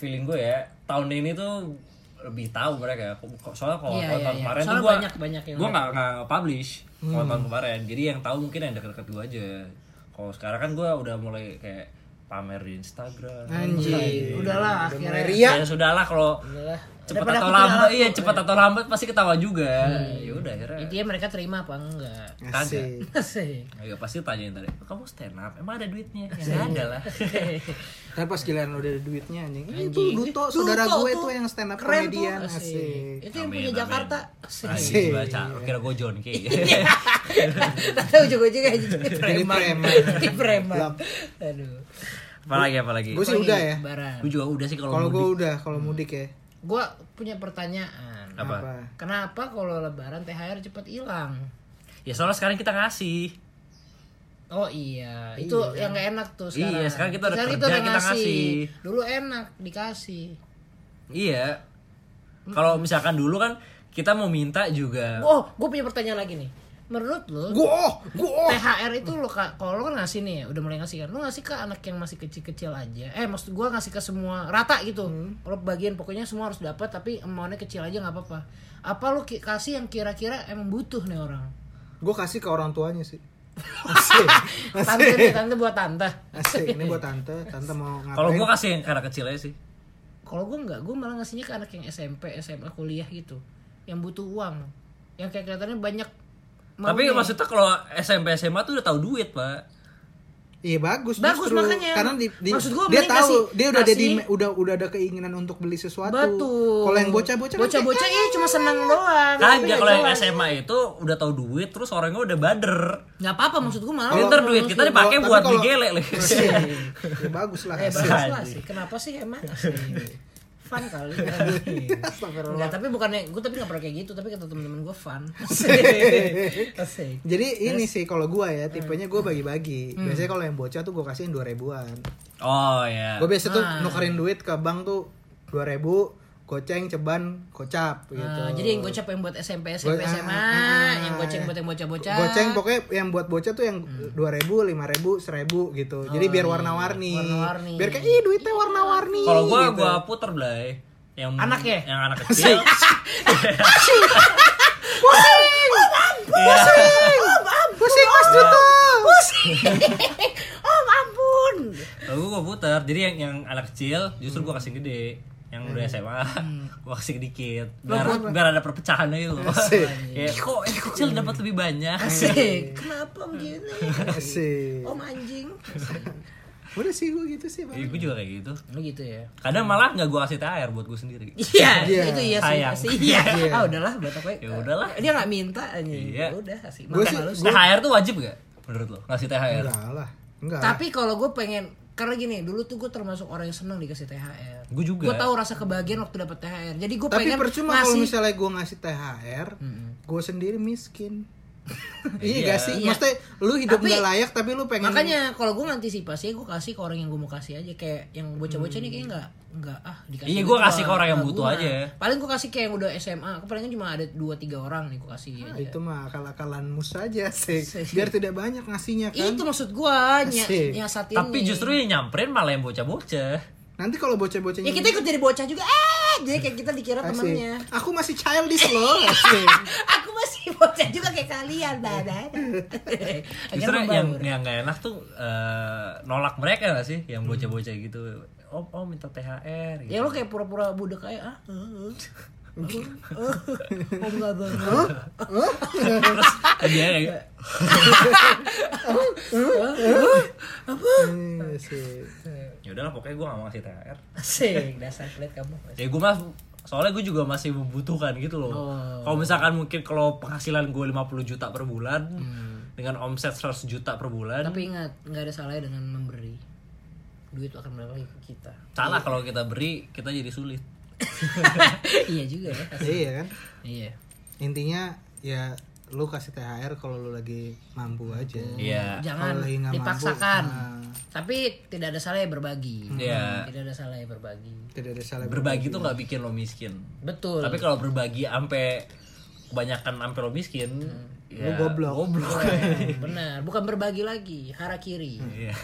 feeling gue ya, tahun ini tuh lebih tahu mereka. Soalnya kalau Iya, kalau iya, tahun iya. kemarin tuh Soalnya gua banyak- banyak yang- Hmm. gua nggak nggak publish kalau tahun kemarin. Jadi yang tahu mungkin yang deket-deket gua aja. Kalau sekarang kan gua udah mulai kayak pamer di Instagram. Anjir. udahlah akhirnya Ria Ya sudahlah kalau udahlah cepat Daripada atau aku ya. tidak lambat laku. iya cepat atau lambat pasti ketawa juga Hmm. ya udah akhirnya intinya mereka terima apa enggak Iya. kagak Asik. asik Ayo Iya, pasti tanyain tadi, kamu stand up, emang ada duitnya? Iya. Ya ada lah Tapi pas giliran udah ada duitnya anjing. Ih, Itu Anjing. Duto, saudara Duto gue tuh tuh yang stand up keren tuh comedian. Asik. asik itu yang punya Amin, amin. Jakarta asik Iya. Asik baca, kira gue John K tak tahu juga juga ya, jadi preman preman. jadi preman aduh Iya, Apalagi, apalagi Gue sih udah ya. Baran. Gue juga udah sih kalau Kalau gue mudik Hmm. udah, kalau mudik ya. gue punya pertanyaan Apa? Apa? Kenapa kalau lebaran THR cepet hilang? Ya soalnya sekarang kita ngasih Oh iya, itu yang gak enak tuh sekarang. Iya, sekarang kita udah kerja, kita ngasih. Dulu enak dikasih. Iya Kalau misalkan dulu kan kita mau minta juga Oh, gue punya pertanyaan lagi nih. Menurut lo, Gue oh, gue oh. THR itu lo ka- kalau lo kan ngasih nih, ya, udah mulai ngasih kan. Lo ngasih ke anak yang masih kecil-kecil aja. Eh, maksud gue ngasih ke semua rata gitu. Kalau bagian pokoknya semua harus dapat, tapi amountnya kecil aja nggak apa-apa. Apa lo ki- kasih yang kira-kira emang butuh nih orang? Gue kasih ke orang tuanya sih. Asik. Tante nih, tante buat tante. Asik. Ini buat tante, tante mau ngapain? Kalau gue kasih yang karena kecil aja sih kalau gue nggak gue malah ngasihnya ke anak yang SMP SMA kuliah gitu yang butuh uang yang kayak kelihatannya banyak Tapi maunya. maksudnya kalau SMP SMA tuh udah tahu duit pak Iya bagus, Bagus, justru. makanya. Karena di, di- Maksud gua, dia mending tahu kasih- dia udah jadi kasih. udah udah ada keinginan untuk beli sesuatu. betul Kalau yang bocah-bocah kan bocah bocah iya cuma seneng doang Tapi Kagak nggak Kan, ya kalau yang jelas. SMA itu udah tahu duit terus orangnya udah bader nggak apa apa maksud gue malah Jadi ntar duit kita dipakai tapi buat beli kalau- gele leh. kayak- ya, bagus lah. eh, Asik. bagus lah sih kenapa sih emang Asik. fun kali Nggak, tapi bukannya gue tapi nggak pernah kayak gitu tapi kata temen-temen gue fun Asik. Hmm. Jadi ini sih kalau gua ya tipenya gua bagi-bagi. Biasanya kalau yang bocah tuh gua kasihin dua ribuan. Oh Ah. ya. Gue biasa tuh nukerin duit ke bank tuh dua ribu, gue goceng ceban kocap gitu Nah, jadi yang gocap yang buat SMP, SMP, Go- SMA, ah, yang goceng iya. buat yang bocah-bocah. goceng pokoknya yang buat bocah tuh yang Hmm. dua ribu lima ribu seribu gitu jadi biar Oh, warna-warni iya. Warna-warni. biar kayak ih duitnya warna-warni Kalau gua gitu. gua puter belai yang Anaknya? yang anak kecil. pusing mas Duto Om Oh, ampun. Kalau gua, gua puter. Jadi yang yang anak kecil justru gua kasih gede. Yang udah SMA gua kasih dikit. Biar biar ada perpecahan aja loh. Ya kok yang kecil dapat lebih banyak. Asik. Kenapa om gini? Asik. Om anjing. udah sih gua gitu sih Bang. Oh. Iya, gua juga kayak gitu. Lu gitu ya. Kadang malah nggak gua kasih THR buat gua sendiri. Iya, itu iya sih. Sayang. sih. Iya. Ah udahlah buat apa? Ya udahlah. Dia enggak minta anjing. Iya. Ya Udah asik. Gua Makan sih- halus. THR tuh wajib gak? Menurut lo? Ngasih THR? enggak lah enggak Tapi kalau gue pengen karena gini, dulu tuh gue termasuk orang yang senang dikasih THR. Gua juga. Gue tahu rasa kebahagiaan waktu dapat THR. Jadi gue tapi pengen percuma kalau ngasih- misalnya gua ngasih THR gua sendiri miskin Iya. iya gak sih Iya. maksudnya lu hidup Tapi- nggak layak tapi lu pengen Makanya kalau gue antisipasi gue kasih ke orang yang gue mau kasih aja kayak yang bocah-bocah nih kayak nggak nggak ah dikasih. Iya, gitu gua kasih ke nggak- orang yang nggak butuh guna. aja. Paling gue kasih kayak yang udah SMA. Palingan cuma ada 2 3 orang nih gue kasih. Nah, aja. itu mah akal-akalanmu saja sih biar tidak banyak ngasihnya kan Iya Itu maksud gue ny Asik. nyiasatin Tapi nih. justru yang nyamperin malah yang bocah-bocah. nanti kalau bocah-bocahnya gitu, ya kita ikut jadi bocah juga. Eh, jadi kayak kita dikira Asik. temannya. Aku masih childish loh. asik. Aku masih bocah juga kayak kalian, badai. Justru yang yang gak enak tuh eh, nolak mereka gak sih? Yang bocah-bocah gitu. Om, om minta THR gitu. Ya lo kayak pura-pura budek aja ah. eh, eh. Eh, Om nggak banget. Eh, dia kayak, Iya sih. ya udahlah pokoknya gue gak mau ngasih THR. Asik, dasar pelit kamu. Ya gue mah soalnya gue juga masih membutuhkan gitu loh. Oh. Kalau misalkan mungkin kalau penghasilan gue 50 juta per bulan dengan omset 100 juta per bulan, Hmm. Tapi ingat, nggak ada salahnya dengan memberi. Duit akan balik lagi ke kita. salah kalau kita beri kita jadi sulit. iya juga ya. Iya kan? Iya. Intinya ya lu kasih THR kalau lu lagi mampu aja. Hmm. Iya. Jangan Kalau lagi nggak dipaksakan. mabuk, nah. Tapi tidak ada salahnya berbagi. Iya. Tidak ada salahnya berbagi. Tidak ada salah. Berbagi tuh nggak bikin lo miskin. Betul. Tapi kalau berbagi ampe kebanyakan ampe lo miskin, Hmm. ya, Lo goblok. Goblok. Benar, bukan berbagi lagi, hara kiri. Hmm. Iya.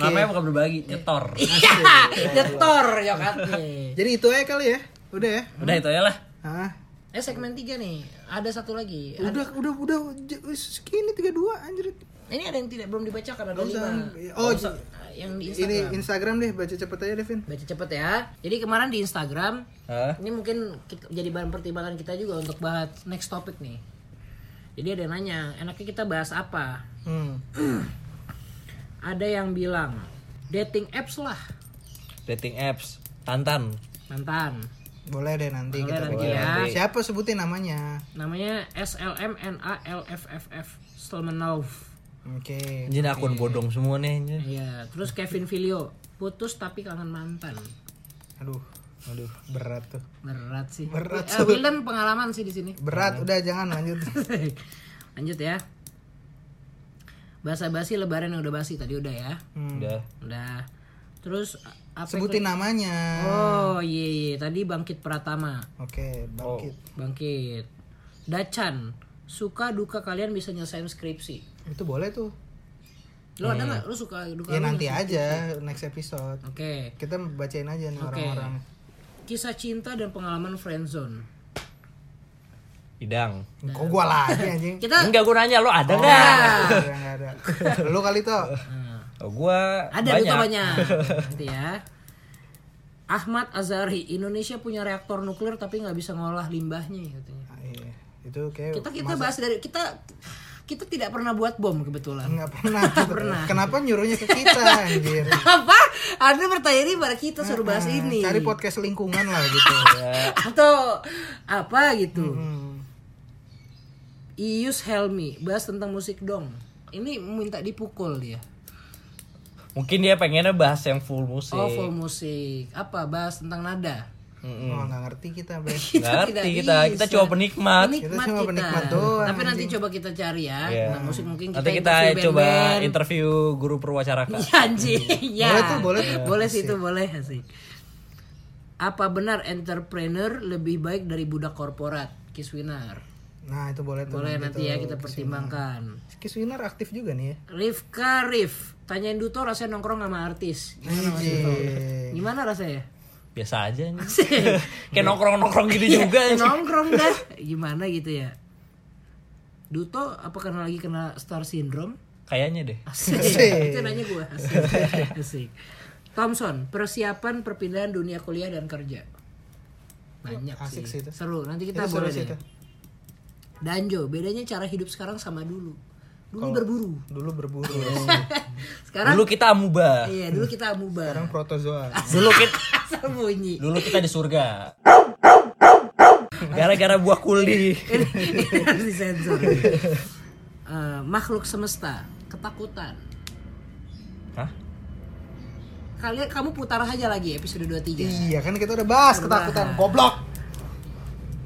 Namanya bukan berbagi, nyetor. Iya. Nyetor yokatnya. Jadi itu aja kali ya. Udah ya. Udah itu aja lah. Hah? Eh segmen 3 nih, ada satu lagi. Ada- Udah, udah, udah, j- segini 32 anjir. Ini ada yang tidak belum dibacakan ada usah. lima. Oh, Nggak usah. yang di Instagram. Ini Instagram deh, baca cepet aja Devin. Baca cepet ya. Jadi kemarin di Instagram, Hah? ini mungkin kita- jadi bahan pertimbangan kita juga untuk bahas next topic nih. Jadi ada yang nanya, enaknya kita bahas apa? Hmm. Ada yang bilang dating apps lah, Dating apps, Tantan. mantan. Boleh deh nanti Boleh Iya, kita nanti bikin. ya. Siapa sebutin namanya? Namanya SLMNALFFF, Stelmanov. Oke. Jadi akun bodong semua nih. anjir. Iya, terus Kevin Filio, putus tapi kangen mantan. Aduh, aduh, berat tuh. Berat sih. Berat, Eh, Wildan pengalaman sih di sini. Berat, udah jangan lanjut. Lanjut ya. Bahasa basi lebaran yang udah basi tadi udah ya. Udah. Udah. Terus a- apa? Sebutin namanya. Oh iya iya tadi Bangkit Pratama. Oke, bangkit. Bangkit. Dacan. Suka duka kalian bisa nyelesain skripsi. Itu boleh tuh. Lu ada nggak? Lu suka duka? Ya lu nanti nggak? aja next episode. Oke. Kita bacain aja nih Oke. orang-orang. Kisah cinta dan pengalaman friendzone. Idang. Kok gua lagi anjing? Kita Enggak gue nanya lo ada Oh. Nggak enggak? ada, nggak ada. Lu kali tuh. Oh, gua ada banyak. duka banyak. Nanti ya. Ahmad Azari, Indonesia punya reaktor nuklir tapi nggak bisa ngolah limbahnya katanya. Ah, iya. Itu kayak Kita kita bahas dari kita kita tidak pernah buat bom kebetulan. nggak pernah. gitu. Kenapa nyuruhnya ke kita anjir? Apa? Ada pertanyaan ini pada kita suruh bahas ini. Iya. Nah, Cari podcast lingkungan lah gitu. Atau apa gitu. Hmm. Ius Helmi, bahas tentang musik dong. Ini minta dipukul dia. Mungkin dia pengennya bahas yang full musik. Oh, full musik. Apa? Bahas tentang nada. Mm-mm. Oh, nggak ngerti kita, Bre. Ngerti kita, kita cuma penikmat. Penikmat Kita cuma kita. penikmat doang, Tapi nanti coba kita cari ya. Iya. Tentang musik mungkin kita Nanti kita interview coba band-band. interview guru perwacaraka. Iya, anjing. Ya. Boleh tuh, boleh tuh. Boleh sih itu boleh sih. Apa benar entrepreneur lebih baik dari budak korporat? Kiswinar. Nah itu boleh tuh. Boleh nanti ya kita pertimbangkan. Kiswinar aktif juga nih ya. Rifka Rif, tanyain Duto rasanya nongkrong sama artis. Gimana Mas Duto? Gimana rasanya? biasa aja nih. kayak nongkrong nongkrong gitu juga Eh, Iya. anjing. nongkrong dah. Gimana gitu ya? Duto apa karena lagi kena star syndrome? kayaknya deh Asik. Iya, Itu nanya gue. Asik. Asik. Thompson, persiapan perpindahan dunia kuliah dan kerja. Banyak Asik sih. sih itu. Seru. Nanti kita Itu seru boleh sih deh. itu. Danjo, bedanya cara hidup sekarang sama dulu. Dulu berburu. Dulu berburu. Iya. Sekarang dulu kita amuba iya, dulu kita amuba. Sekarang protozoa. dulu kita Asal bunyi. dulu kita di surga gara-gara buah kuli Ini ini harus disensor. Eh, makhluk semesta, ketakutan. Hah? Kalian kamu putar aja lagi episode 23. iya kan kita udah bahas ketakutan. Goblok.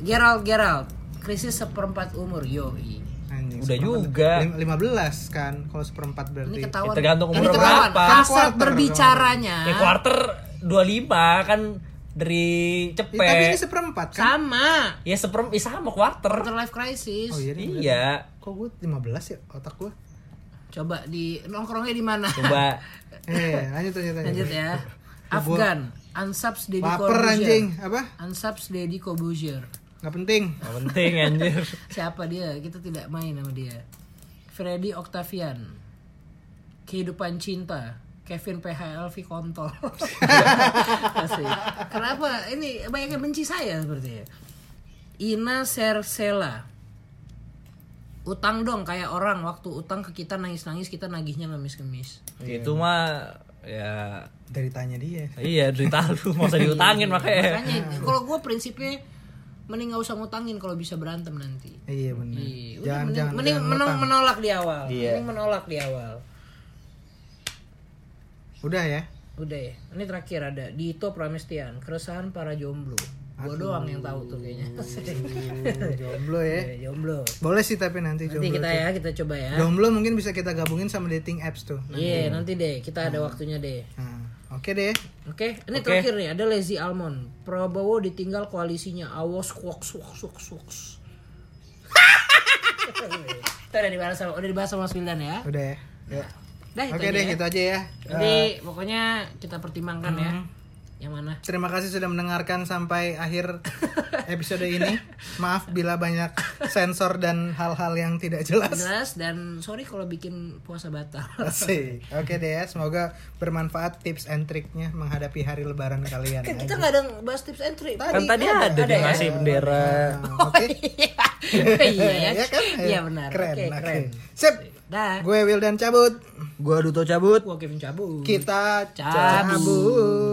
Gerald, Gerald, krisis seperempat umur, yoi. Anjing, Udah seperempat. juga. Lim- 15 kan kalau seperempat Ini berarti. ketahuan. Ya, tergantung Ini umur ketahuan. berapa. Kasat Quarter berbicaranya ya quarter 25 kan dari Ya, tapi ini cepet seperempat kan? sama. ya seperem ya sama quarter Quarter life crisis. Oh iya. ini bener. iya Kok gue 15 ya otak gue? Coba di nongkrongnya di mana? coba Eh, lanjut lanjut lanjut. Lanjut ya. Afgan, Ansabs Deddy Baper Corbuzier. anjing, apa? Ansabs Deddy Corbuzier. Gak penting. Gak penting anjir Siapa dia? Kita tidak main sama dia. Freddy Octavian. Kehidupan cinta. Kevin PHLV kontol. Asik. Kenapa? Ini banyak yang benci saya sepertinya. Ina Sersela. Utang dong kayak orang waktu utang ke kita nangis-nangis kita nagihnya ngemis-ngemis. Iya. itu mah ya Dari tanya dia. iya cerita lu mau usah diutangin makanya Makanya kalau gue prinsipnya mending gak usah ngutangin kalau bisa berantem nanti. Iya benar. Iya, udah, Jangan mending, jangan. mending jangan menol- utang. menolak di awal. Iya. Mending menolak di awal. Udah ya. Udah ya. Ini terakhir ada Dito Pramestian, keresahan para jomblo. Gua doang yang tahu tuh kayaknya. Uh, jomblo ya. Eh, jomblo. Boleh sih tapi nanti Nanti jomblo. kita tuh. ya, kita coba ya. Jomblo mungkin bisa kita gabungin sama dating apps tuh. Iya, nanti deh. Kita Hmm. ada waktunya deh. Nah, oke deh. Oke, ini terakhir nih ada Lazy Almond. Prabowo ditinggal koalisinya. Awas kuak suak suak suak. Itu udah dibahas sama, udah dibahas sama Mas Wildan ya. Udah ya. Ya. Dah, itu Oke aja deh, ya. gitu aja ya. Jadi pokoknya kita pertimbangkan ya. Hmm. Yang mana? Terima kasih sudah mendengarkan sampai akhir episode ini. Maaf bila banyak sensor dan hal-hal yang tidak jelas. Jelas dan sorry kalau bikin puasa batal. Asik. Oke deh ya, semoga bermanfaat tips and triknya menghadapi hari lebaran kalian. Kan kita nggak ada bahas tips and trick. kan tadi ada, dia ngasih bendera Nah, Oke. ya? Oh, iya ya. Ya kan? Iya benar. Keren, Oke, oke. keren. Sip. Dah. Gue Wildan cabut. gua duto cabut Gua Kevin cabut. Kita Cabut. cabut.